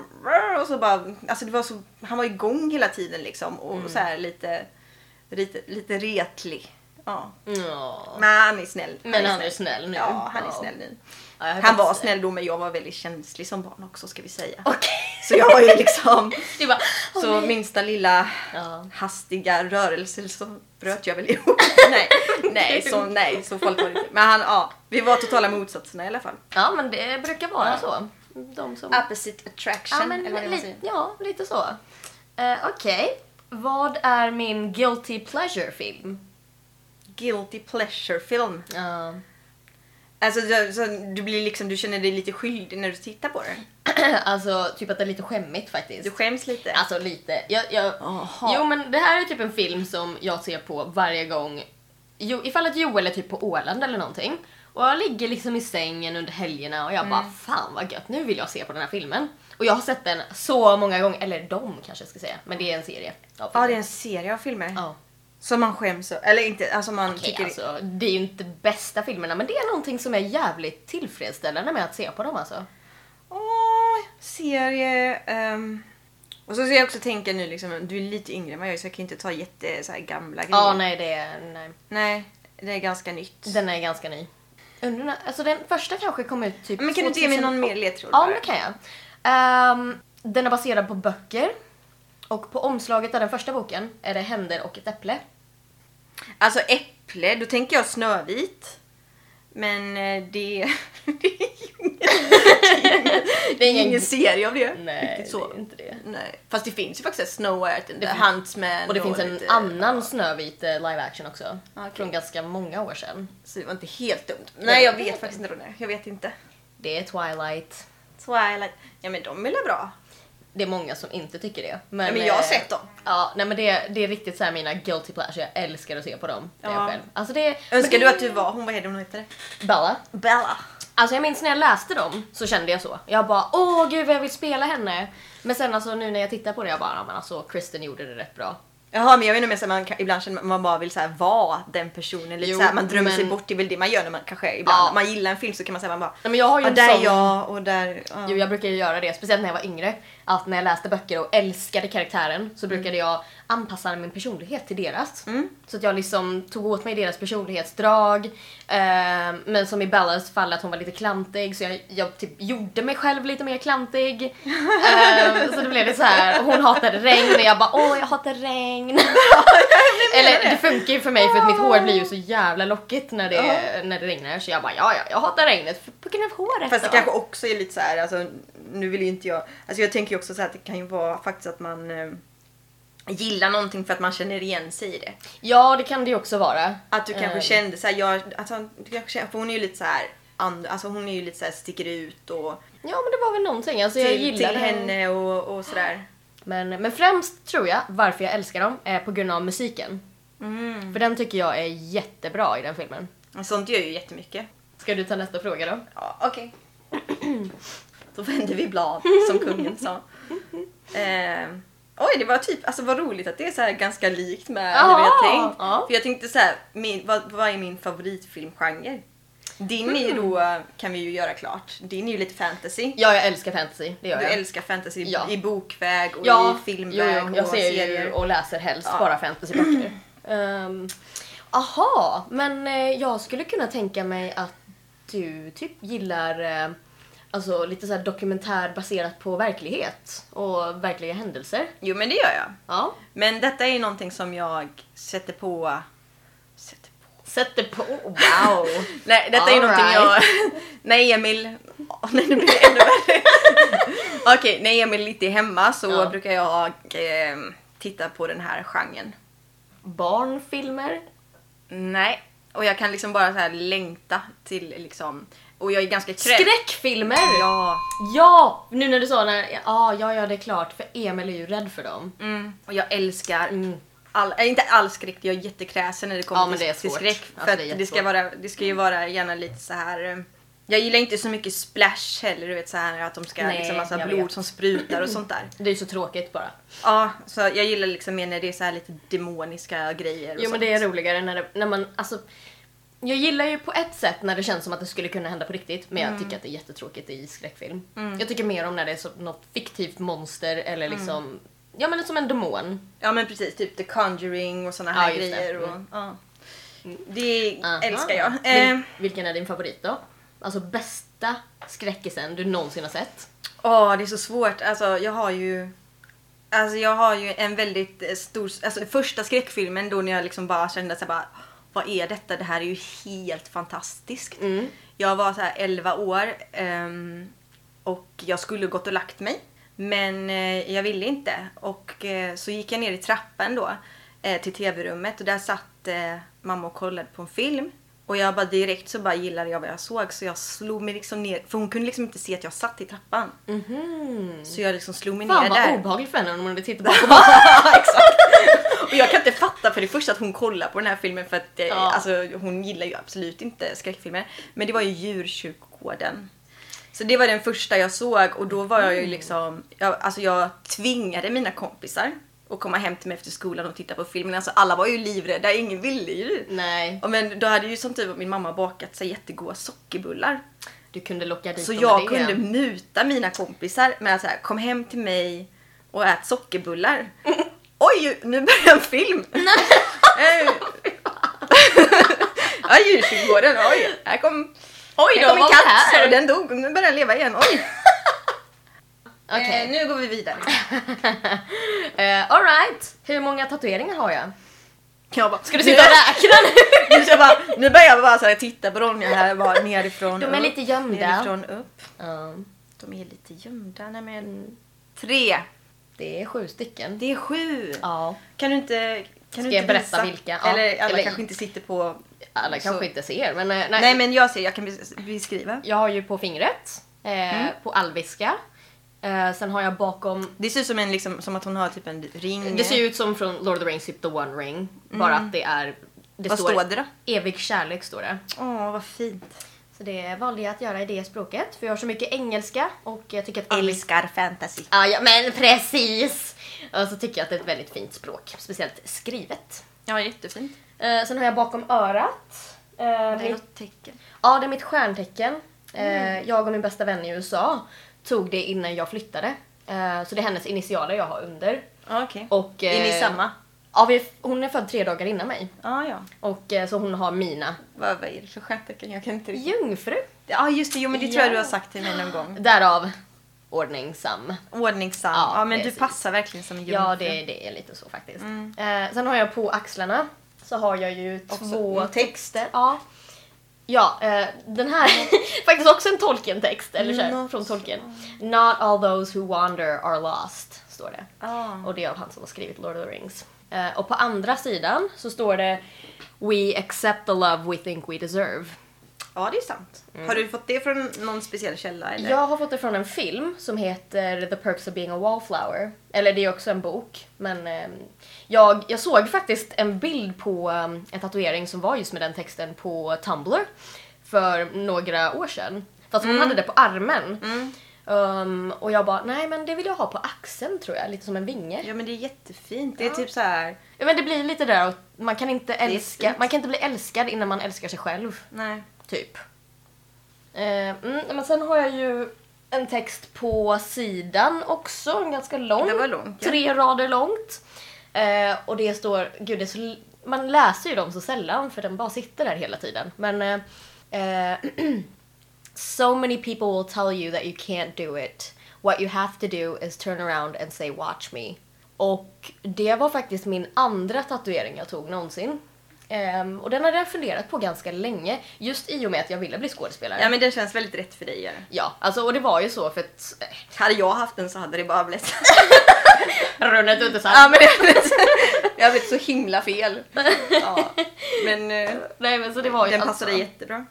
B: och så bara alltså det var så
A: Mm.
B: han var igång hela tiden liksom och så här lite lite, lite retlig. Ja.
A: Ja.
B: Men han är snäll.
A: Men han är snäll nu.
B: Ja, han är
A: Ja.
B: snäll nu.
A: Ja, jag
B: Han var
A: hoppas det.
B: snäll då men jag var väldigt känslig som barn också ska vi säga.
A: Okej.
B: Så jag var ju liksom,
A: Det var,
B: så minsta lilla
A: Ja.
B: hastiga rörelse så bröt jag väl ihop. nej, nej, så, nej, så folk var det inte. Men han, ja, vi var totala motsatserna i alla fall.
A: ja, men det brukar vara så. De som...
B: Opposite attraction
A: ja, men, li- ja, lite så. Eh, Okej. Vad är min guilty pleasure-film?
B: Guilty pleasure film.
A: Ja.
B: Alltså så, så, du blir liksom, du känner dig lite skyldig när du tittar på det.
A: alltså, typ att det är lite skämmigt faktiskt.
B: Du skäms lite.
A: Alltså lite. Jag, jag,
B: Aha.
A: jo men det här är typ en film som jag ser på varje gång. Jo, ifall att Joel är typ på Åland eller någonting. Och jag ligger liksom i sängen under helgerna och jag
B: Mm.
A: bara fan vad gött, nu vill jag se på den här filmen. Och jag har sett den så många gånger, eller de kanske jag ska säga, men det är en serie. av
B: ja,
A: filmer.
B: det är en serie av filmer.
A: Ja.
B: Som man skäms över. Eller inte, alltså man
A: Okej,
B: tycker...
A: alltså, det är ju inte bästa filmerna men det är någonting som är jävligt tillfredsställande med att se på dem
B: Mm.
A: alltså.
B: Åh, serie. ehm. Och så ska jag också tänka nu liksom, du är lite yngre än vad jag är så jag kan inte ta jätte så här, gamla grejer.
A: Ja, nej det är, nej.
B: nej, det är ganska nytt.
A: Den är ganska ny. Undrar, när- alltså den första kanske kom ut typ
B: Men kan du inte ge mig
A: 2008?
B: någon mer ledtråd
A: Ja,
B: bara?
A: men det kan jag. Ehm, den är baserad på böcker. Och på omslaget av den första boken är det händer och ett äpple.
B: Alltså äpple, då tänker jag Snövit. Men eh, det... det är ju
A: Det
B: ingen, ingen serie av det.
A: Nej,
B: Riktigt så.
A: det är inte det.
B: Nej. Fast det finns ju faktiskt Snow White and the
A: finns-
B: Huntsman
A: Och det finns en
B: lite- Ah,
A: annan Snövit eh, live action också.
B: Okej.
A: Från ganska många år sedan.
B: Så det var inte helt dumt.
A: Nej,
B: Nej, jag
A: det
B: vet
A: vet
B: faktiskt inte vad det är. Jag vet inte.
A: Det är Twilight.
B: Twilight. Ja men de är väl bra?
A: Det är många som inte tycker det. Men,
B: Nej, men jag har
A: eh,
B: sett dem.
A: Ja, nej men det, det är riktigt så här mina guilty pleasure. Jag älskar att se på dem. när
B: Ja.
A: Jag själv. Alltså det, men
B: Önskar
A: det-
B: du att du var, hon vad heter hon heter?
A: Bella?
B: Bella.
A: Alltså jag minns när jag läste dem så kände jag så. Jag bara åh gud vad jag vill spela henne. Men sen alltså nu när jag tittar på det jag bara ja, men alltså Kristen gjorde det rätt bra.
B: Jaha men jag vet inte om jag säger, man kan, ibland känner man, man bara vill så här, vara den personen. Lite
A: Jo,
B: så här, man drömmer sig
A: men-
B: bort, det är väl det man gör när man kanske ibland,
A: Ja.
B: när man gillar en film så kan man säga man bara
A: Nej, men jag har ju
B: ja,
A: en
B: där
A: sån-
B: är jag och där... Ja.
A: Jo jag brukar ju göra det, speciellt när jag var yngre. Att när jag läste böcker och älskade karaktären så
B: Mm.
A: brukade jag anpassa min personlighet till deras. Så att jag liksom tog åt mig deras personlighetsdrag. Eh, men som i Bellas fall att hon var lite klantig så jag, jag typ gjorde mig själv lite mer klantig. Eh, så det blev det så här. hon hatade regn och jag bara åh jag hatar regn. Eller det funkar ju för mig för att mitt hår blir ju så jävla lockigt när det, när det regnar så jag bara ja ja jag hatar regnet för- på grund av håret.
B: Fast det
A: då."
B: kanske också är lite så här, alltså, nu vill ju inte jag... Alltså jag tänker ju också så här att det kan ju vara faktiskt att man eh, gillar någonting för att man känner igen sig i det.
A: Ja, det kan det ju också vara.
B: Att du kanske
A: Eh,
B: kände så här, jag, alltså, du kanske kände, för hon är ju lite så här, and, alltså hon är ju lite så här sticker ut och
A: Ja, men det var väl någonting. Alltså, jag
B: till,
A: gillar
B: till
A: det.
B: henne och, och sådär.
A: Men, men främst tror jag varför jag älskar dem är på grund av musiken.
B: Mm.
A: För den tycker jag är jättebra i den filmen.
B: Sånt gör ju jättemycket.
A: Ska du ta nästa fråga då?
B: Ja, okej. Då vänder vi blad, som kungen sa. Eh, oj, det var typ, alltså vad roligt att det är så här ganska likt med hur jag
A: Ja,
B: tänkt.
A: ja.
B: För jag tänkte så här, min, vad, vad är min favoritfilmgenre? Din är ju
A: Mm.
B: då, kan vi ju göra klart, din är ju lite fantasy.
A: Ja, jag älskar fantasy. Det gör
B: Du
A: jag.
B: älskar fantasy i-
A: Ja.
B: i bokväg och
A: ja,
B: i
A: jo,
B: filmväg
A: jo, jag
B: och
A: ser
B: serier.
A: ju och läser helst
B: Ja.
A: bara fantasyböcker. Ehm, aha, men eh, jag skulle kunna tänka mig att du typ gillar eh, alltså, lite så här dokumentär baserat på verklighet och verkliga händelser.
B: Jo men det gör jag.
A: Ja.
B: Men detta är ju någonting som jag sätter på... Sätter på.
A: Sätter på, oh, wow!
B: Nej, detta är
A: All
B: ju någonting jag... Nej Emil... Åh, nej nu blir det ännu värre. Okej, när Emil lite är hemma så
A: Ja.
B: brukar jag eh, titta på den här genren.
A: Barnfilmer?
B: Nej. Och jag kan liksom bara så här längta till liksom... Och jag är ganska krävd.
A: Skräckfilmer! Ja.
B: Ja.
A: Nu när du sa när, ja, ja, ja, det är klart, för Emil är ju rädd för dem.
B: Mm. Och jag älskar
A: Mm.
B: All, äh, inte all skräck, jag är jättekräsen när det kommer
A: Ja, men det är
B: till, till
A: svårt.
B: skräck.
A: Alltså,
B: för att
A: det är
B: det, ska
A: jättesvårt. Mm.
B: vara, det ska ju vara gärna lite så här. eh, Jag gillar inte så mycket splash heller, du vet så här att de ska
A: Nej,
B: liksom massa
A: jag
B: blod
A: vet.
B: som sprutar och sånt där.
A: Det är ju så tråkigt bara.
B: Ja, så jag gillar liksom mer när det är så här lite demoniska grejer
A: Jo
B: och
A: men
B: sånt.
A: det är roligare när, det, när man, alltså jag gillar ju på ett sätt när det känns som att det skulle kunna hända på riktigt men jag tycker att det är jättetråkigt i skräckfilm. Jag tycker mer om när det är så, något fiktivt monster eller liksom, ja men som en demon.
B: Ja men precis, typ The Conjuring och såna
A: Ja,
B: här
A: just det.
B: grejer. Och,
A: Mm.
B: ja. Det
A: Aha.
B: älskar jag. Eh,
A: Vil- vilken är din favorit då? Alltså bästa skräckisen du någonsin har sett?
B: Åh, det är så svårt. Alltså, jag har ju... Alltså jag har ju en väldigt eh, stor... Alltså första skräckfilmen då när jag liksom bara kände så här bara... Vad är detta? Det här är ju helt fantastiskt.
A: Mm.
B: Jag var så här 11 år ehm, och jag skulle gått och lagt mig. Men eh, jag ville inte. Och eh, så gick jag ner i trappan då eh, till tv-rummet och där satt eh, mamma och kollade på en film. Och jag bara direkt så bara gillade jag vad jag såg så jag slog mig liksom ner. För hon kunde liksom inte se att jag satt i trappan.
A: Mhm.
B: Så jag liksom slog mig
A: Fan
B: ner
A: vad
B: där.
A: obehagligt för henne om hon hade tittat bakom
B: Exakt. Och jag kan inte fatta för det första att hon kollar på den här filmen för att eh,
A: Ja.
B: alltså, hon gillar ju absolut inte skräckfilmer. Men det var ju djurkyrkogården. Så det var den första jag såg och då var jag ju liksom, jag, alltså jag tvingade mina kompisar att komma hem till mig efter skolan och titta på filmen. Alltså alla var ju livrädda, ingen ville ju.
A: Nej,
B: Ja, Men då hade ju som tur var min mamma bakat sig jättegoda sockerbullar.
A: du kunde locka dit
B: Så
A: dem
B: jag
A: med det.
B: kunde muta mina kompisar med att så här, kom hem till mig och ät sockerbullar. Oj, nu börjar en film! Eh. ja, djurkyrkogården, oj, här kom,
A: Oj
B: här kom en
A: vad var det
B: katt
A: här?
B: och den dog, nu börjar den leva igen, oj!
A: Okej.
B: Eh, nu går vi vidare.
A: Eh, Alright, hur många tatueringar har jag?
B: Jag bara,
A: Ska du sitta och räkna nu?
B: nu, jag bara, nu börjar jag bara så här, titta på dem, jag här bara nerifrån
A: De är lite gömda.
B: Nerifrån upp.
A: Ja,
B: De är lite gömda, nej men... Tre!
A: det är sju stycken.
B: Det är sju!
A: Ja,
B: Kan du inte, kan
A: Ska
B: du inte
A: jag berätta
B: visa?
A: vilka? Ja.
B: Eller alla
A: Eller-
B: kanske inte sitter på...
A: alla
B: Så-
A: kanske inte ser men eh, nej.
B: Nej. men jag ser, jag kan bes- beskriva.
A: Jag har ju på fingret, eh,
B: Mm.
A: på allväska. Eh, sen har jag bakom,
B: Det ser ut som, en, liksom, som att hon har typ en ring.
A: det ser ju ut som från Lord of the Rings, typ The One Ring. Bara att det är, det
B: Mm. Vad står det då?
A: Evig kärlek står det.
B: Åh, vad fint.
A: Så det valde jag att göra i det språket, för jag har så mycket engelska och jag tycker att
B: Älskar fantasy.
A: Ja, ja, men precis! Och så tycker jag att det är ett väldigt fint språk, speciellt skrivet.
B: Ja, jättefint.
A: Eh, sen har jag bakom örat. Eh,
B: Det är
A: mitt,
B: något Mm. tecken.
A: ja, det är mitt stjärntecken. Eh, jag och min bästa vän i USA tog det innan jag flyttade. Eh, så det är hennes initialer jag har under.
B: Ja, okej.
A: Och,
B: Är ni
A: eh,
B: samma?
A: Ja, vi, hon är född tre dagar innan mig.
B: Ja, ja.
A: Och eh, så hon har mina.
B: Vad, vad är det för stjärntecken? Jag kan inte riktigt...
A: Jungfru.
B: Ja, just det. Jo, men det tror
A: Ja.
B: jag du har sagt till mig någon gång.
A: Därav ordningsam.
B: Ordningsam.
A: Ja,
B: Ja, men
A: precis.
B: du passar verkligen som en jungfru.
A: Ja, det, det är lite så faktiskt. Eh, sen har jag på axlarna så har jag ju
B: Mm. Också
A: två
B: en text. Mm.
A: texter. Ja, ja eh, den här faktiskt också en Tolkien-text. Eller så här,
B: Not-
A: från Tolkien. Not all those who wander are lost, står det.
B: Ah.
A: Och det är av han som har skrivit Lord of the Rings. Eh, och på andra sidan så står det We accept the love we think we deserve.
B: Ja, det är sant.
A: Mm.
B: Har du fått det från någon speciell källa? Eller?
A: Jag har fått det från en film som heter The Perks of Being a Wallflower. Eller det är också en bok. Men eh, jag, jag såg faktiskt en bild på eh, en tatuering som var just med den texten på Tumblr för några år sedan. Fast hon hade det på armen. Ehm, och jag bara, nej men det vill jag ha på axeln tror jag, lite som en vinge.
B: Ja men det är jättefint. Det är typ så här.
A: Ja, men det blir lite där och man kan inte
B: är
A: älska,
B: fint.
A: man kan inte bli älskad innan man älskar sig själv.
B: Nej.
A: Typ. Eh, mm, men sen har jag ju en text på sidan också, en ganska lång.
B: Det var långt, ja.
A: Tre rader långt. Eh, och det står, gud det är så, l- man läser ju dem så sällan för den bara sitter där hela tiden. Men eh, eh, So many people will tell you that you can't do it. What you have to do is turn around and say watch me. Och det var faktiskt min andra tatuering jag tog någonsin. Ehm, och den hade jag funderat på ganska länge, just i och med att jag ville bli skådespelare.
B: Ja men den känns väldigt rätt för dig. gör den.
A: Ja, alltså, och det var ju så för att... eh,
B: Hade jag haft den så hade det bara blivit...
A: Runnet inte sant.
B: ja men det hade blivit, det hade blivit så himla fel. Ja. Men eh,
A: Nej men så det var ju
B: den
A: alltså-
B: passade jättebra.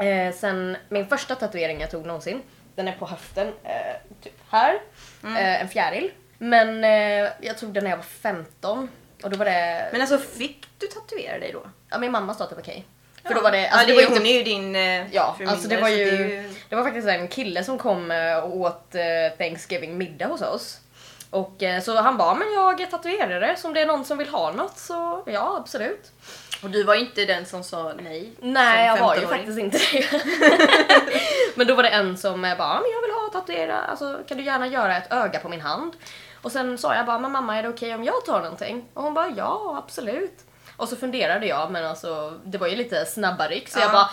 A: Eh, sen min första tatuering jag tog någonsin, den är på höften, eh, typ här.
B: Mm.
A: Eh, en fjäril. Men eh, jag tog den när jag var 15 och då var det...
B: Men alltså fick du tatuera dig då?
A: Ja, min mamma sa att det var okej. För då var det... Alltså,
B: ja, det,
A: det
B: var
A: är
B: ju,
A: ju
B: hon är ju din eh,
A: Ja,
B: fru
A: alltså det
B: mindre,
A: var
B: så
A: ju,
B: det är ju-
A: det var faktiskt en kille som kom eh, och åt eh, Thanksgiving middag hos oss. Och eh, så han bara, men jag är tatuerare, så om det är någon som vill ha något så ja absolut.
B: Och du var ju inte den som sa nej.
A: Nej
B: som
A: jag var ju
B: 15-åring.
A: faktiskt inte det. men då var det en som eh, bara, "Ja, men jag vill ha tatuera, alltså kan du gärna göra ett öga på min hand? Och sen sa jag bara, men mamma är det okej om jag tar någonting? Och hon bara, ja absolut. Och så funderade jag men alltså det var ju lite snabba ryck så
B: Ja.
A: jag bara äh,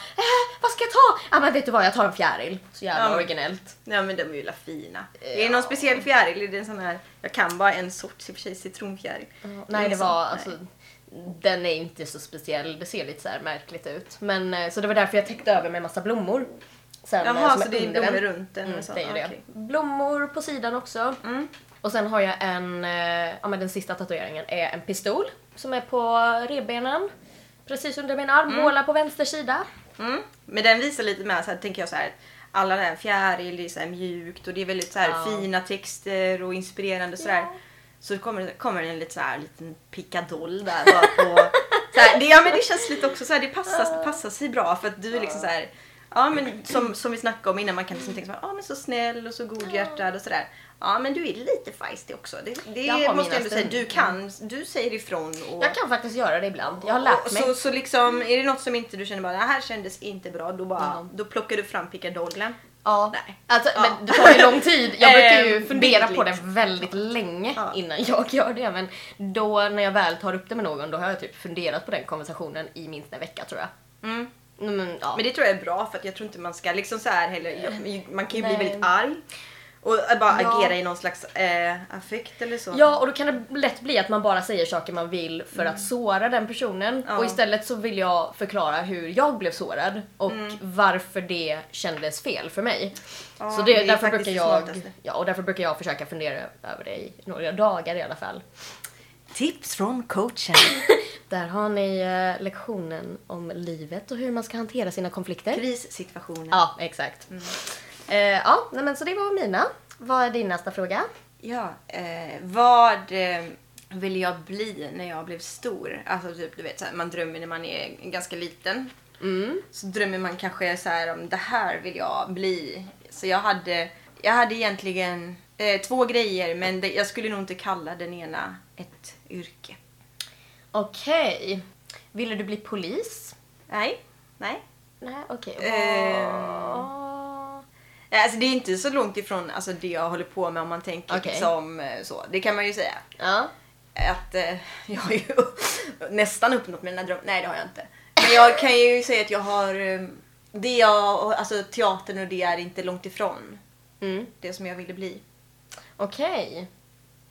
A: vad ska jag ta? Ja ah, men vet du vad jag tar en fjäril. Så jävla
B: Ja.
A: originellt.
B: Nej men de är ju la fina. Är
A: Ja.
B: det någon speciell fjäril? Är det en sån här? Jag kan bara en sorts i och för sig, citronfjäril.
A: Nej det
B: Liksom,
A: var
B: nej.
A: alltså den är inte så speciell, det ser lite så här märkligt ut. Men eh, så det var därför jag täckte över med massa blommor. Sen, eh,
B: Jaha,
A: som
B: så det är
A: under
B: de
A: den.
B: är runt den?
A: Mm,
B: och så. Ah,
A: det är det.
B: Okej.
A: Blommor på sidan också.
B: Mm.
A: Och sen har jag en, eh, ja men den sista tatueringen är en pistol som är på revbenen. Precis under min armhåla på vänster sida.
B: Mm. Men den visar lite mer så här, tänker jag så här. Alla den här fjäril, det är så här mjukt och det är väldigt så här
A: Ja.
B: fina texter och inspirerande och sådär. Så kommer, det- kommer den lite så här liten pickadoll där bara på. så här, det, ja men det känns lite också så här, det passar, det passar sig bra för att du är liksom så här. Ja men som, som vi snackade om innan man kan liksom tänka så här, ja men så snäll och så godhjärtad och sådär. Ja men du är lite feisty också. Det,
A: Jag
B: det
A: har
B: måste
A: mina
B: jag ändå säga.
A: stunder.
B: Du kan, du säger ifrån och...
A: Jag kan faktiskt göra det ibland, jag har
B: Och
A: lärt mig.
B: Så, så liksom, är det något som inte du känner bara, det här kändes inte bra, då, bara,
A: Ja.
B: då plockar du fram pickadollen.
A: Ja.
B: Nej.
A: Alltså,
B: Ja.
A: Men det tar ju lång tid. Jag brukar
B: Eh,
A: ju fundera på det
B: bildligt.
A: väldigt länge
B: Ja.
A: innan jag gör det. Men då när jag väl tar upp det med någon, då har jag typ funderat på den konversationen i minst en vecka tror jag.
B: Mm.
A: Mm, Men, ja.
B: Men det tror jag är bra för att jag tror inte man ska liksom så här heller, jag- man kan ju bli
A: Nej.
B: väldigt arg. Och bara
A: Ja.
B: agera i någon slags eh, affekt eller så.
A: Ja, och då kan det lätt bli att man bara säger saker man vill för att såra den personen.
B: Mm. Ja.
A: Och istället så vill jag förklara hur jag blev sårad och varför det kändes fel för mig.
B: Mm. Ja,
A: så
B: det
A: det,
B: är
A: därför
B: faktiskt
A: brukar
B: det
A: jag,
B: smartaste.
A: ja, och därför brukar jag försöka fundera över det i några dagar i alla fall.
B: Tips från coachen.
A: Där har ni eh, lektionen om livet och hur man ska hantera sina konflikter.
B: Krissituationer.
A: Ja, exakt.
B: Mm.
A: Eh, ja, nej, men så det var mina. Vad är din nästa fråga?
B: Ja, eh, vad eh, vill jag bli när jag blev stor? Alltså typ, du vet, så här, man drömmer när man är ganska liten. Så drömmer man kanske så här om det här vill jag bli. Så jag hade, jag hade egentligen eh, två grejer men det, jag skulle nog inte kalla den ena ett yrke.
A: Okej. Ville du bli polis?
B: Nej, nej.
A: Nej, okej.
B: Eh.
A: Vad-
B: Alltså det är inte så långt ifrån alltså, det jag håller på med om man tänker
A: Okej.
B: som eh, så. Det kan man ju säga.
A: Ja.
B: att eh, jag har ju nästan uppnått mina drömmar. Nej, det har jag inte. Men jag kan ju säga att jag har eh, det jag, alltså teatern och det är inte långt ifrån
A: Mm.
B: det som jag ville bli.
A: Okej.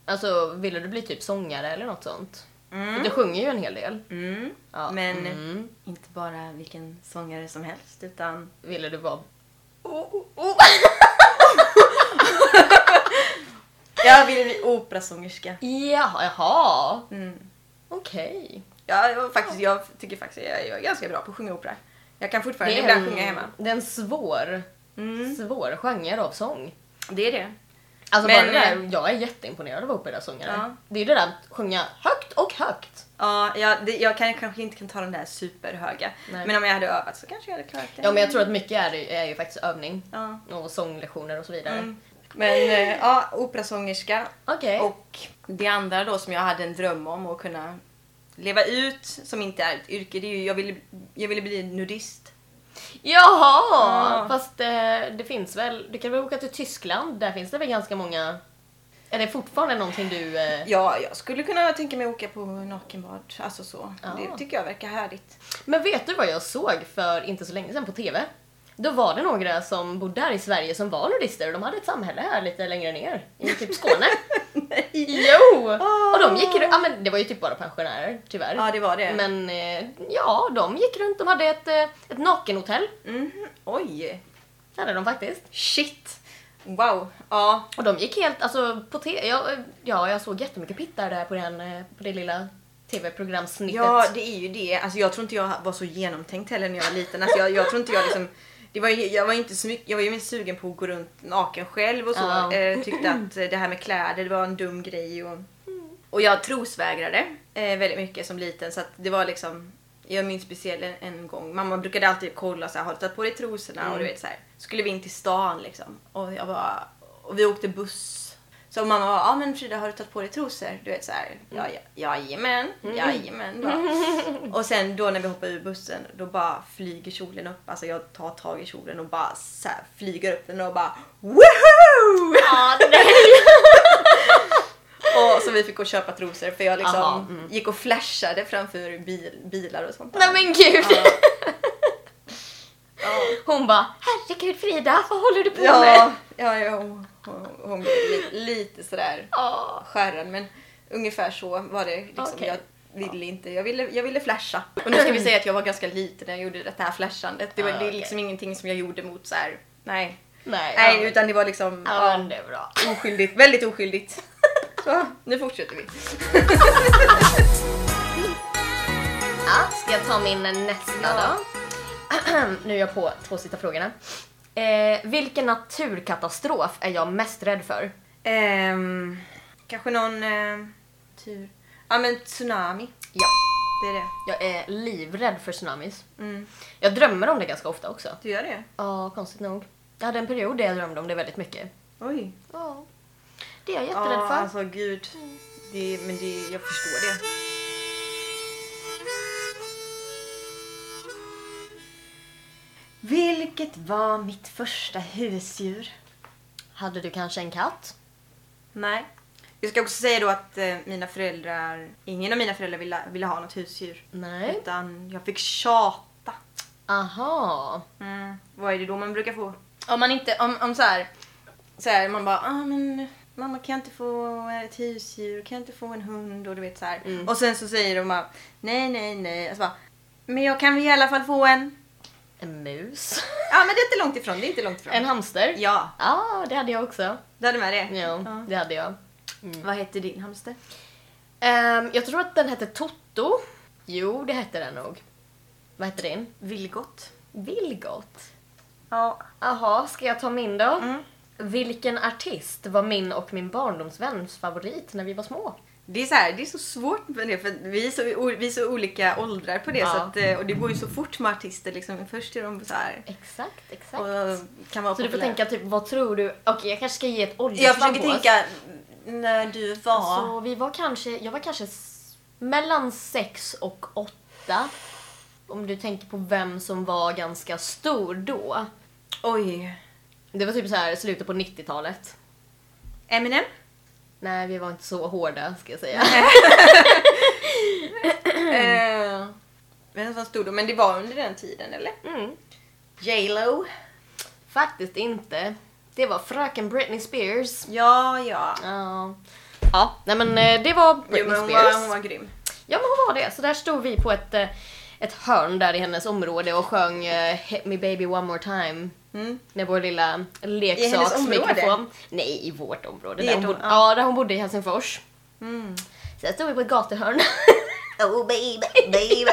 A: Alltså, ville du bli typ sångare eller något sånt? För Du sjunger ju en hel del.
B: Mm.
A: Ja.
B: Men
A: Mm.
B: inte bara vilken sångare som helst utan
A: Ville du vara...
B: Oh, jag ville bli operasångerska.
A: Ja, jaha!
B: Mm.
A: Okej.
B: Ja, jag, faktiskt, jag tycker faktiskt att jag, jag är ganska bra på att sjunga opera. Jag kan fortfarande
A: Det är
B: ibland
A: en-
B: sjunga hemma.
A: Det är en svår,
B: Mm.
A: svår genre av sång.
B: Det är det.
A: Alltså
B: Men-
A: bara det där, jag är jätteimponerad av operasångare.
B: Ja.
A: Det är ju det där att sjunga högt och högt.
B: Ja, jag, det, jag kan, kanske inte kan ta den där superhöga.
A: Nej.
B: Men om jag hade övat så kanske jag hade klarat det.
A: Ja men jag tror att mycket är, det- är ju faktiskt övning.
B: Ja.
A: Och sånglektioner och så vidare.
B: Mm. Men eh, ja, operasångerska.
A: Okej.
B: Och det andra då som jag hade en dröm om att kunna leva ut, som inte är ett yrke, det är ju jag ville, jag ville bli nudist.
A: Jaha!
B: Ja.
A: Fast eh, det finns väl, du kan väl åka till Tyskland? Där finns det väl ganska många... Är det fortfarande någonting du... Eh...
B: Ja, jag skulle kunna tänka mig att åka på nakenbad, alltså så.
A: Ja.
B: Det tycker jag verkar härligt.
A: Men vet du vad jag såg för inte så länge sedan på TV? Då var det några som bodde här i Sverige som var nudister och de hade ett samhälle här lite längre ner, i typ Skåne.
B: Nej!
A: jo!
B: Ah.
A: Och de gick runt, ja men det var ju typ bara pensionärer tyvärr.
B: Ja, det var det.
A: Men eh, ja, de gick runt, de hade ett, eh, ett nakenhotell.
B: Mhm, Oj!
A: Det hade de faktiskt.
B: Shit! Wow! Ja,
A: Och de gick helt, alltså på te- ja, ja, jag såg jättemycket pittar där på, den, eh, på det lilla TV-programsnittet.
B: Ja, det är ju det. Alltså, jag tror inte jag var så genomtänkt heller när jag var liten. Alltså, jag, jag tror inte jag liksom... Det var, ju- jag, var inte så mycket, jag var ju mest sugen på att gå runt naken själv och så.
A: Ja.
B: Eh, tyckte att eh, det här med kläder det var en dum grej. Och, och jag trosvägrade eh, väldigt mycket som liten. Så att det var liksom... Jag minns speciellt en, en gång, mamma brukade alltid kolla så här, har du tagit på dig trosorna? Och du vet så här, skulle vi in till stan liksom. Och jag bara, och vi åkte buss. Så mamma bara, ja men Frida har du tagit på dig trosor? Du vet så här, ja, ja, jajamän, jajamän. Bara. Och sen då när vi hoppar ur bussen, då bara flyger kjolen upp. Alltså jag tar tag i kjolen och bara så här, flyger upp den och bara, woohoo!
A: Ja, nej.
B: Och så vi fick gå och köpa trosor för jag liksom
A: Aha, mm.
B: gick och flashade framför bil, bilar och sånt. där.
A: Nej men gud!
B: Ja. Ja.
A: Hon bara herregud Frida, vad håller du på med?
B: Ja, ja, ja hon, hon, hon blev li, lite sådär
A: Ja.
B: skärrad men ungefär så var det. Liksom.
A: Okej.
B: Jag ville inte, jag ville, jag ville flasha. Och nu ska vi säga att jag var ganska liten när jag gjorde det här flashandet. Det var
A: Ja,
B: det är
A: Ah, okej.
B: liksom ingenting som jag gjorde mot så här. nej.
A: Nej,
B: Nej,
A: ja.
B: utan det var liksom
A: Ja,
B: ja,
A: men det är bra.
B: oskyldigt, väldigt oskyldigt. Så, nu fortsätter vi.
A: Ja, ska jag ta min nästa
B: Ja.
A: då? nu är jag på två sista frågorna. Eh, vilken naturkatastrof är jag mest rädd för?
B: Ehm, kanske någon eh, tur. Ja men tsunami,
A: Ja,
B: det är det.
A: jag är livrädd för tsunamis.
B: Mm.
A: Jag drömmer om det ganska ofta också.
B: Du gör det?
A: Ja, konstigt nog. Jag hade en period där jag drömde om det väldigt mycket.
B: Oj.
A: Ja. Det är jag jätterädd
B: Ja,
A: för.
B: alltså gud. Det, men det, jag förstår det. Vilket var mitt första husdjur?
A: Hade du kanske en katt?
B: Nej. Jag ska också säga då att eh, mina föräldrar, ingen av mina föräldrar ville, ville ha något husdjur.
A: Nej.
B: Utan jag fick tjata.
A: Aha.
B: Mm. Vad är det då man brukar få? Om man inte, om, om så här, så här man bara, ah, men mamma kan jag inte få ett husdjur, kan jag inte få en hund och du vet så här.
A: Mm.
B: Och sen så säger de bara, nej nej nej. Och så bara, men jag kan väl i alla fall få en.
A: En mus?
B: Ja men det är inte långt ifrån, det är inte långt ifrån.
A: en hamster?
B: Ja,
A: Ja, det hade jag också.
B: du hade med det?
A: Ja, det hade jag.
B: Mm. Vad hette din hamster?
A: Ehm, jag tror att den hette Toto. Jo, det hette den nog. Vad hette din?
B: Vilgot.
A: Vilgot.
B: Ja.
A: Jaha, ska jag ta min då?
B: Mm.
A: Vilken artist var min och min barndomsväns favorit när vi var små?
B: Det är, så här, det är så svårt med det för vi är så, vi är så olika åldrar på det
A: Ja.
B: så att, eh, och det går ju så fort med artister liksom. Först är de så här
A: Exakt, exakt.
B: och kan vara
A: så du får
B: populära.
A: tänka typ, vad tror du? Okej, jag kanske ska ge ett
B: Jag
A: åldersspann
B: försöker
A: på oss.
B: tänka när du var...
A: Så vi var kanske, jag var kanske s- mellan sex och åtta. Om du tänker på vem som var ganska stor då.
B: Oj.
A: Det var typ så här slutet på 90-talet.
B: Eminem?
A: Nej, vi var inte så hårda ska jag säga.
B: Eh, vem som stod då? Men det var under den tiden eller?
A: Mm.
B: J Lo?
A: Faktiskt inte. Det var fröken Britney Spears.
B: Ja, ja.
A: Ja. Ja, nej men eh, det var
B: Jo,
A: Britney
B: men hon,
A: Spears.
B: var, hon var grym.
A: Ja men hon var det. Så där stod vi på ett, eh, ett hörn där i hennes område och sjöng eh, Hit me baby one more time.
B: Mm.
A: Med vår lilla
B: hennes område?
A: leksaksmikrofon. Nej, i vårt område.
B: I
A: där,
B: ert
A: hon bodde,
B: område, ja.
A: ja. där hon bodde i Helsingfors.
B: Mm.
A: Så där stod vi på ett gatuhörn.
B: Oh baby, baby.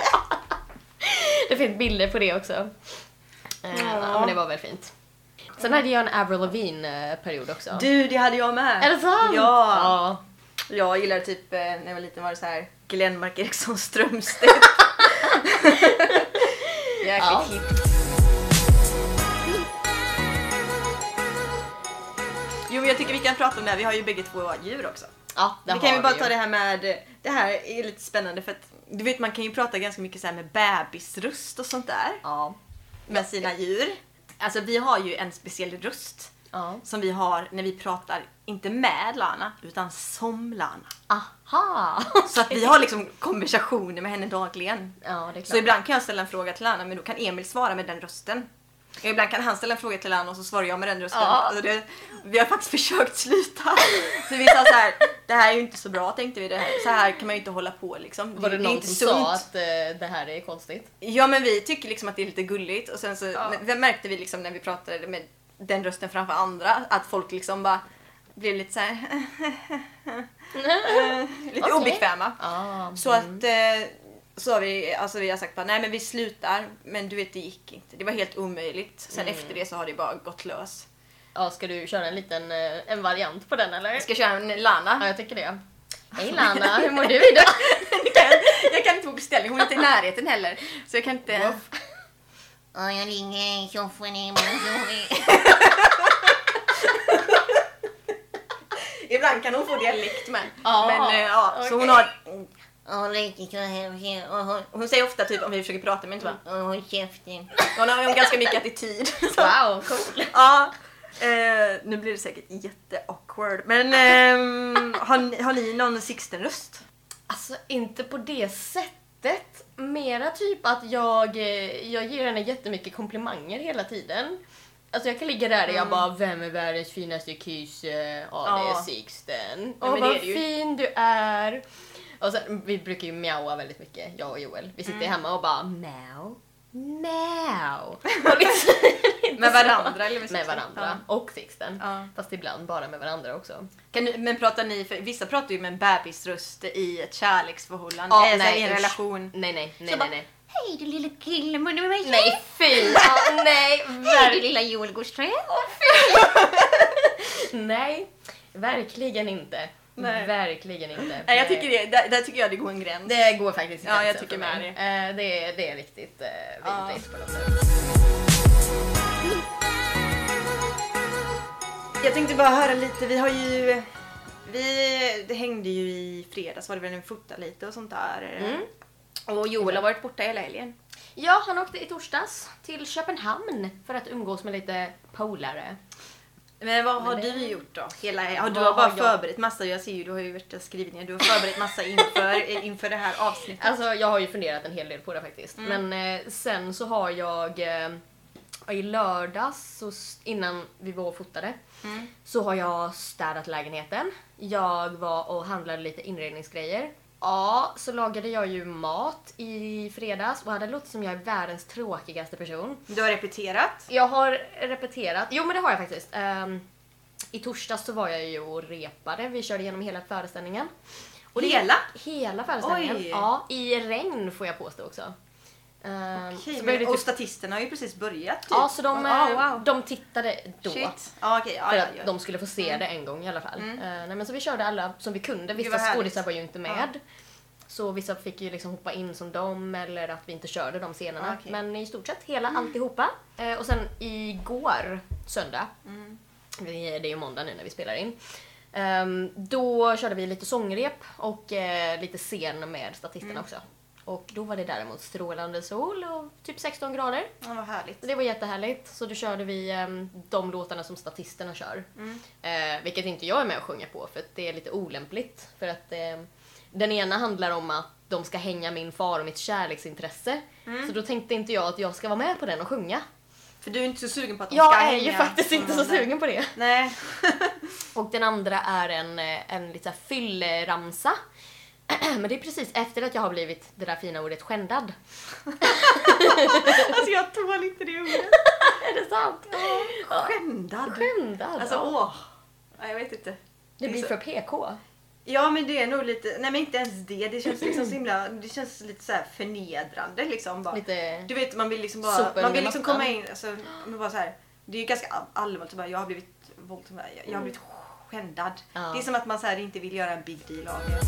A: det finns bilder på det också. Ja.
B: Ja.
A: men det var väl fint. Sen hade jag en Avril Lavigne-period också.
B: du, det hade jag med.
A: Är det sant?
B: Ja.
A: ja.
B: Jag gillar typ, eh, när jag var liten var det så här Glenmark Eriksson Strömstedt. Jäkligt
A: Ja.
B: hipp. Jo men jag tycker vi kan prata om det här, vi har ju bägge två djur också.
A: Ja, där
B: vi kan
A: har
B: ju bara
A: vi
B: ta det här med, det här är lite spännande för att du vet man kan ju prata ganska mycket så här med bebisröst och sånt där.
A: Ja.
B: Med sina djur. Alltså vi har ju en speciell röst
A: ja.
B: som vi har när vi pratar, inte med Lana, utan som Lana.
A: Aha!
B: Så att vi har liksom konversationer med henne dagligen.
A: Ja, det är klart.
B: Så ibland kan jag ställa en fråga till Lana men då kan Emil svara med den rösten. Och ibland kan han ställa en fråga till Lana och så svarar jag med den rösten.
A: Ja.
B: Alltså det, vi har faktiskt försökt sluta. Så vi sa så här, det här är ju inte så bra tänkte vi. Det här, så här kan man ju inte hålla på liksom.
A: Var
B: det
A: det
B: är
A: någon
B: inte
A: som
B: sunt.
A: sa att eh, det här är konstigt?
B: Ja men vi tycker liksom att det är lite gulligt och sen så det märkte vi liksom när vi pratade med den rösten framför andra att folk liksom bara blev lite så här, lite
A: Okej.
B: obekväma.
A: Eh, Ja.
B: Så att eh, så har vi, alltså vi har sagt bara nej men vi slutar men du vet det gick inte. Det var helt omöjligt. Sen
A: Mm.
B: efter det så har det bara gått lös.
A: ja, ska du köra en liten eh, en variant på den eller?
B: Jag ska köra en
A: Ja,
B: Lana.
A: jag tycker det. Hej Lana, hur mår du idag?
B: jag, kan, jag kan inte få beställning, hon är inte i närheten heller. Så jag kan inte...
C: Och jag ligger i soffan hemma och sover.
B: Ibland kan hon få dialekt med.
A: Ja,
B: men eh, ja, så
A: okej.
B: hon har
C: Och ligger så här och ser och håll-
B: Hon säger ofta typ om vi försöker prata men inte bara
C: och håll käften.
B: Hon har ju ganska mycket attityd. Så.
A: Wow, cool.
B: Ja. Eh, nu blir det säkert jätte-awkward. Men ehm, har, ni, har ni någon Sixten-röst?
A: Alltså inte på det sättet. Mera typ att jag, eh, jag ger henne jättemycket komplimanger hela tiden. Alltså jag kan ligga där och jag bara Vem är världens finaste kysse? Ja det
B: Mm. Ja.
A: är Sixten.
B: Ja,
A: Åh
B: men det är
A: vad
B: det ju.
A: fin du är. Och sen, vi brukar ju mjaua väldigt mycket jag och Joel. Vi
B: Mm.
A: sitter hemma och bara mjau, mjau. Och liksom-
B: Med varandra eller med
A: Med
B: Sixten?
A: varandra. Och Sixten.
B: Ja.
A: Fast ibland bara med varandra också.
B: Kan ni, men pratar ni, för vissa pratar ju med en bebisröst i ett kärleksförhållande,
A: Ja,
B: eller så här i
A: usch.
B: en relation.
A: Eh, Nej nej nej
B: bara,
A: nej nej.
C: Hej du lille killen, vad nu är
A: Nej fy! Ja, nej,
C: Hej du
A: verkligen.
C: lilla Joel Gårdström.
A: Nej, verkligen inte.
B: Nej.
A: Verkligen inte.
B: Nej, jag tycker det, där, där tycker jag det går en gräns.
A: Det går faktiskt
B: Ja, jag
A: gränsen
B: tycker
A: för
B: med
A: mig. Eh, det, är, det är riktigt eh,
B: Ja.
A: vidrigt på något sätt.
B: Jag tänkte bara höra lite, vi har ju... Vi det hängde ju i fredags var det väl när vi fotade lite och sånt där.
A: Mm.
B: Och Joel har varit borta hela helgen.
A: Ja, han åkte i torsdags till Köpenhamn för att umgås med lite polare.
B: Men vad har
A: Men det-
B: du gjort då? Hela, ja, du
A: Vad
B: har bara
A: har jag-
B: förberett massa, jag ser ju du har ju varit och skrivit ner, du har förberett massa inför, eh, inför det här avsnittet.
A: Alltså jag har ju funderat en hel del på det faktiskt. Men eh, sen så har jag eh, i lördags, så s- innan vi var och fotade, så har jag städat lägenheten. Jag var och handlade lite inredningsgrejer. Ja, så lagade jag ju mat i fredags och hade låtit som jag är världens tråkigaste person.
B: Du har repeterat.
A: Jag har repeterat. Jo men det har jag faktiskt. Ehm, I torsdags så var jag ju och repade. Vi körde igenom hela föreställningen. Och det-
B: Hela?
A: Hela föreställningen.
B: Oj.
A: Ja, i regn får jag påstå också. Ehm,
B: Okej,
A: så
B: men-
A: blev det
B: Och
A: typ,
B: statisterna har ju precis börjat typ.
A: ja, så de,
B: Ja,
A: eh,
B: wow.
A: de tittade då.
B: Shit. Ja, okej. Ja,
A: För
B: ja,
A: att
B: ja. Mm.
A: de skulle få se det en gång i alla fall. Eh, nej, men så vi körde alla som vi kunde. Vissa
B: vad härligt.
A: skådisar var ju inte med. Så vissa fick ju liksom hoppa in som dem eller att vi inte körde de scenerna.
B: Ah, Okej. Mm.
A: Men i stort sett hela alltihopa. Eh, och sen igår, söndag,
B: Mm.
A: vi, det är ju måndag nu när vi spelar in. Ehm, då körde vi lite sångrep och eh, lite scen med statisterna
B: Mm.
A: också. Och då var det däremot strålande sol och typ 16 grader.
B: Ja, vad härligt.
A: Det var jättehärligt. Så då körde vi ehm, de låtarna som statisterna kör.
B: Mm.
A: Eh, vilket inte jag är med och sjunger på för att det är lite olämpligt. För att ehm, den ena handlar om att de ska hänga min far och mitt kärleksintresse. Så då tänkte inte jag att jag ska vara med på den och sjunga.
B: För du är Mm. inte så sugen på att de ska
A: Jag är ju
B: hänga
A: faktiskt inte så
B: som de där.
A: sugen på det.
B: Nej.
A: Och den andra är en, eh, en lite så här fylleramsa. Men det är precis efter att jag har blivit det där fina ordet skändad.
B: Alltså jag tål inte det ordet.
A: Är det sant? Ja.
B: Skändad.
A: Skändad.
B: Alltså
A: ja.
B: åh. Ja, jag vet inte.
A: det blir
B: så-
A: för PK.
B: Ja men det är nog lite, nej men inte ens det. Det känns liksom så himla, det känns lite så här förnedrande liksom. Bara.
A: Lite...
B: Du vet man vill liksom bara,
A: Sopa
B: man
A: under
B: vill liksom
A: mattan.
B: komma in, alltså, men bara så här. Det är ju ganska all- allvarligt att bara, jag har blivit våldtagen, jag, jag har blivit skändad.
A: Mm. Ja.
B: Det är som att man så här, inte vill göra en big deal av det.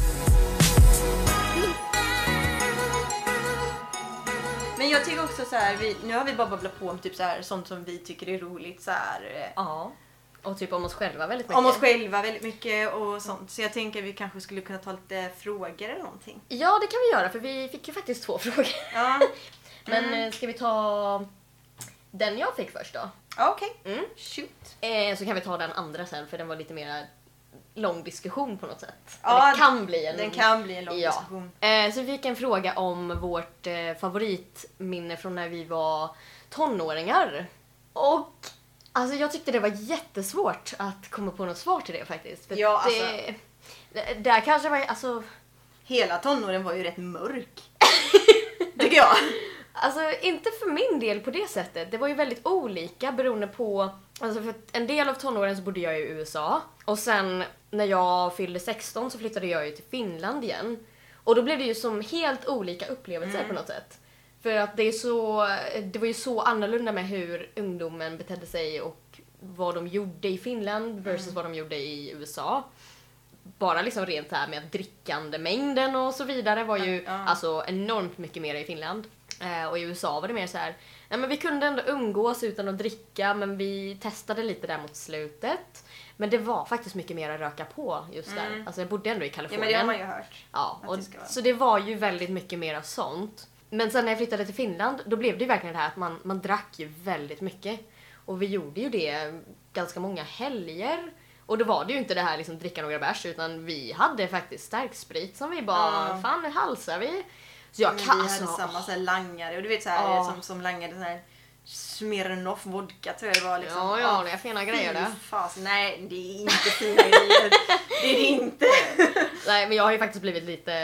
B: Men jag tycker också så här, vi, nu har vi bara babblat på om typ så här, sånt som vi tycker är roligt. Så här, eh,
A: Ja. Och typ om oss själva väldigt mycket.
B: om oss själva väldigt mycket och sånt. Så jag tänker vi kanske skulle kunna ta lite frågor eller någonting.
A: Ja, det kan vi göra för vi fick ju faktiskt två frågor.
B: Ja, Mm.
A: Men eh, ska vi ta den jag fick först då?
B: ja okej.
A: Mm.
B: Shoot.
A: Eh, så kan vi ta den andra sen för den var lite mer lång diskussion på något sätt.
B: Ja,
A: det kan bli en
B: Den kan bli en lång
A: ja.
B: diskussion.
A: Eh, så vi fick en fråga om vårt eh, favoritminne från när vi var tonåringar. Och alltså jag tyckte det var jättesvårt att komma på något svar till det faktiskt. För
B: Ja, alltså-
A: det, det, där kanske var, alltså
B: Hela tonåren var ju rätt mörk. Tycker jag.
A: Alltså inte för min del på det sättet. Det var ju väldigt olika beroende på... Alltså för att en del av tonåren så bodde jag i USA. Och sen när jag fyllde 16 så flyttade jag ju till Finland igen. Och då blev det ju som helt olika upplevelser på något sätt. För att det är så... Det var ju så annorlunda med hur ungdomen betedde sig och vad de gjorde i Finland versus vad de gjorde i USA. Bara liksom rent det här med drickande mängden och så vidare var ju
B: Ja.
A: alltså enormt mycket mer i Finland. Eh, och i USA var det mer så här, nej men vi kunde ändå umgås utan att dricka men vi testade lite där mot slutet. Men det var faktiskt mycket mer att röka på just där. Alltså jag bodde ändå i
B: Mm. Ja
A: Kalifornien.
B: men det har man ju hört.
A: Ja,
B: Att
A: och,
B: det ska vara.
A: så det var ju väldigt mycket mer av sånt. Men sen när jag flyttade till Finland, då blev det ju verkligen det här att man, man drack ju väldigt mycket. Och vi gjorde ju det ganska många helger. Och då var det ju inte det här liksom dricka några bärs utan vi hade faktiskt starksprit som vi bara,
B: Ja.
A: fan nu halsar vi. Så jag
B: Men
A: kan
B: vi hade
A: alltså,
B: samma så här, langare och du vet så här,
A: Ja.
B: som, som langade sån här Smirnoff vodka tror jag det var. Liksom.
A: Ja, ja, det är fina grejer
B: fy
A: det.
B: Fas. Nej, det är inte fina grejer. Det är det inte.
A: Nej men jag har ju faktiskt blivit lite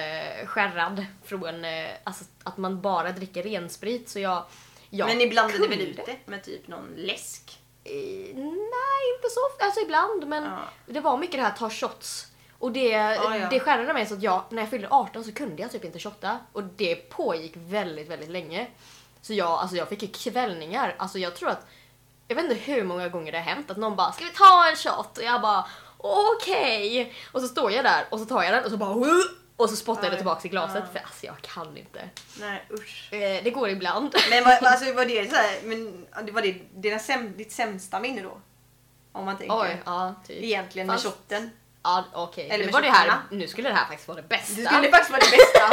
A: skärrad från eh, alltså, att man bara dricker rensprit så jag... jag
B: Men ni blandade väl
A: kunde.
B: ut det med typ någon läsk?
A: Eh, Nej inte så ofta, alltså ibland men
B: Ja.
A: det var mycket det här ta shots. Och det,
B: Ja, ja.
A: det skärrade mig så att jag, när jag fyllde 18 så kunde jag typ inte shotta. Och det pågick väldigt, väldigt länge. Så jag, alltså jag fick ju kvällningar. Alltså jag tror att, jag vet inte hur många gånger det har hänt att någon bara “ska vi ta en shot?” och jag bara “okej”. Och så står jag där och så tar jag den och så bara "Huh!" och så spottar
B: Ja,
A: jag det
B: ja.
A: tillbaka i glaset
B: Ja.
A: för alltså jag kan inte.
B: Nej usch.
A: Eh, det går ibland.
B: Men vad, alltså, var det så här, men, ja, det var det dina säm, ditt sämsta minne då? Om man tänker.
A: Oj, ja typ.
B: Egentligen med
A: Fast-
B: shotten.
A: Ja okej,
B: Eller
A: nu
B: med
A: var det här,
B: tjockarna.
A: nu skulle det här faktiskt vara det bästa.
B: Det skulle faktiskt vara det bästa.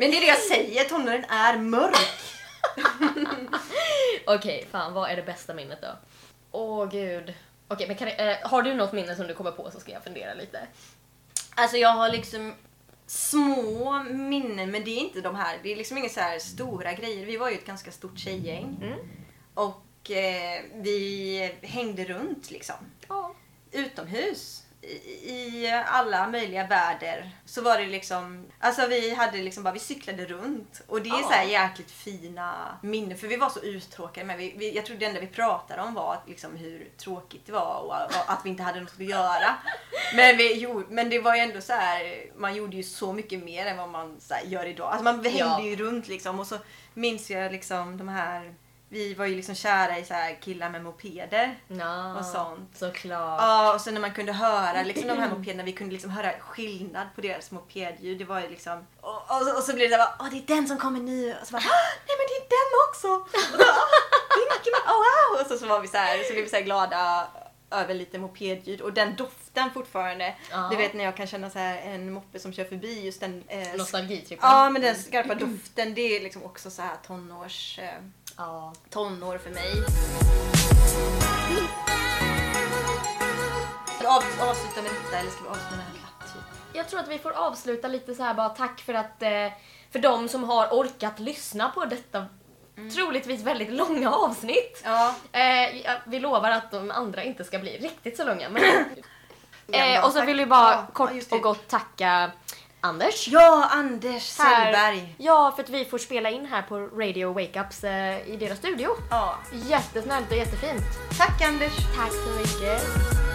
B: Men det är det jag säger, tonåren är mörk.
A: Okej, fan vad är det bästa minnet då? Åh gud. Okej, men kan, eh, har du något minne som du kommer på så ska jag fundera lite.
B: Alltså jag har liksom små minnen men det är inte de här. Det är liksom inga så här stora grejer. Vi var ju ett ganska stort tjejgäng. Och eh, vi hängde runt liksom.
A: Ja.
B: Utomhus. I, I alla möjliga väder. Så var det liksom. Alltså vi hade liksom bara, vi cyklade runt. Och det är
A: Ja.
B: så här jäkligt fina minnen. För vi var så uttråkade. Men vi, vi, jag tror det enda vi pratade om var att, liksom, hur tråkigt det var och, och att vi inte hade något att göra. Men, vi, gjorde- men det var ju ändå så här. Man gjorde ju så mycket mer än vad man så här, gör idag. Alltså man hängde
A: Ja.
B: ju runt liksom. Och så minns jag liksom de här. Vi var ju liksom kära i så här killar med mopeder.
A: Nå,
B: Och sånt.
A: Såklart.
B: Ja, och sen när man kunde höra liksom, de här mopederna, vi kunde liksom höra skillnad på deras mopedljud. Det var ju liksom... Och, och, så- och så blev det bara, åh det är den som kommer nu! Och så bara, "Ah, nej men det är den också! Och så, "Ah, det är mycket mer- oh, wow! Och så, så var vi så här, så blev vi så här glada över lite mopedljud och den doften fortfarande.
A: Ja.
B: Du vet när jag kan känna så här en moppe som kör förbi just den... Eh,
A: Nostalgitrippen.
B: ja, men den skarpa doften det är liksom också så här tonårs... Eh,
A: Ja.
B: tonår för mig. Ska vi av- avsluta med detta eller ska vi avsluta med en klapp? Typ?
A: Jag tror att vi får avsluta lite så här bara tack för att eh, för de som har orkat lyssna på detta
B: Mm.
A: troligtvis väldigt långa avsnitt.
B: Ja.
A: Eh, ja, vi lovar att de andra inte ska bli riktigt så långa. Men... eh,
B: Ja,
A: och så
B: tack.
A: vill vi bara
B: Ja, ja,
A: kort
B: just det.
A: och gott tacka Anders.
B: Ja, Anders
A: här-
B: Sellberg.
A: Ja, för att vi får spela in här på Radio Wakeups eh, i deras studio.
B: Ja.
A: Jättesnällt och jättefint.
B: Tack Anders.
A: Tack så mycket.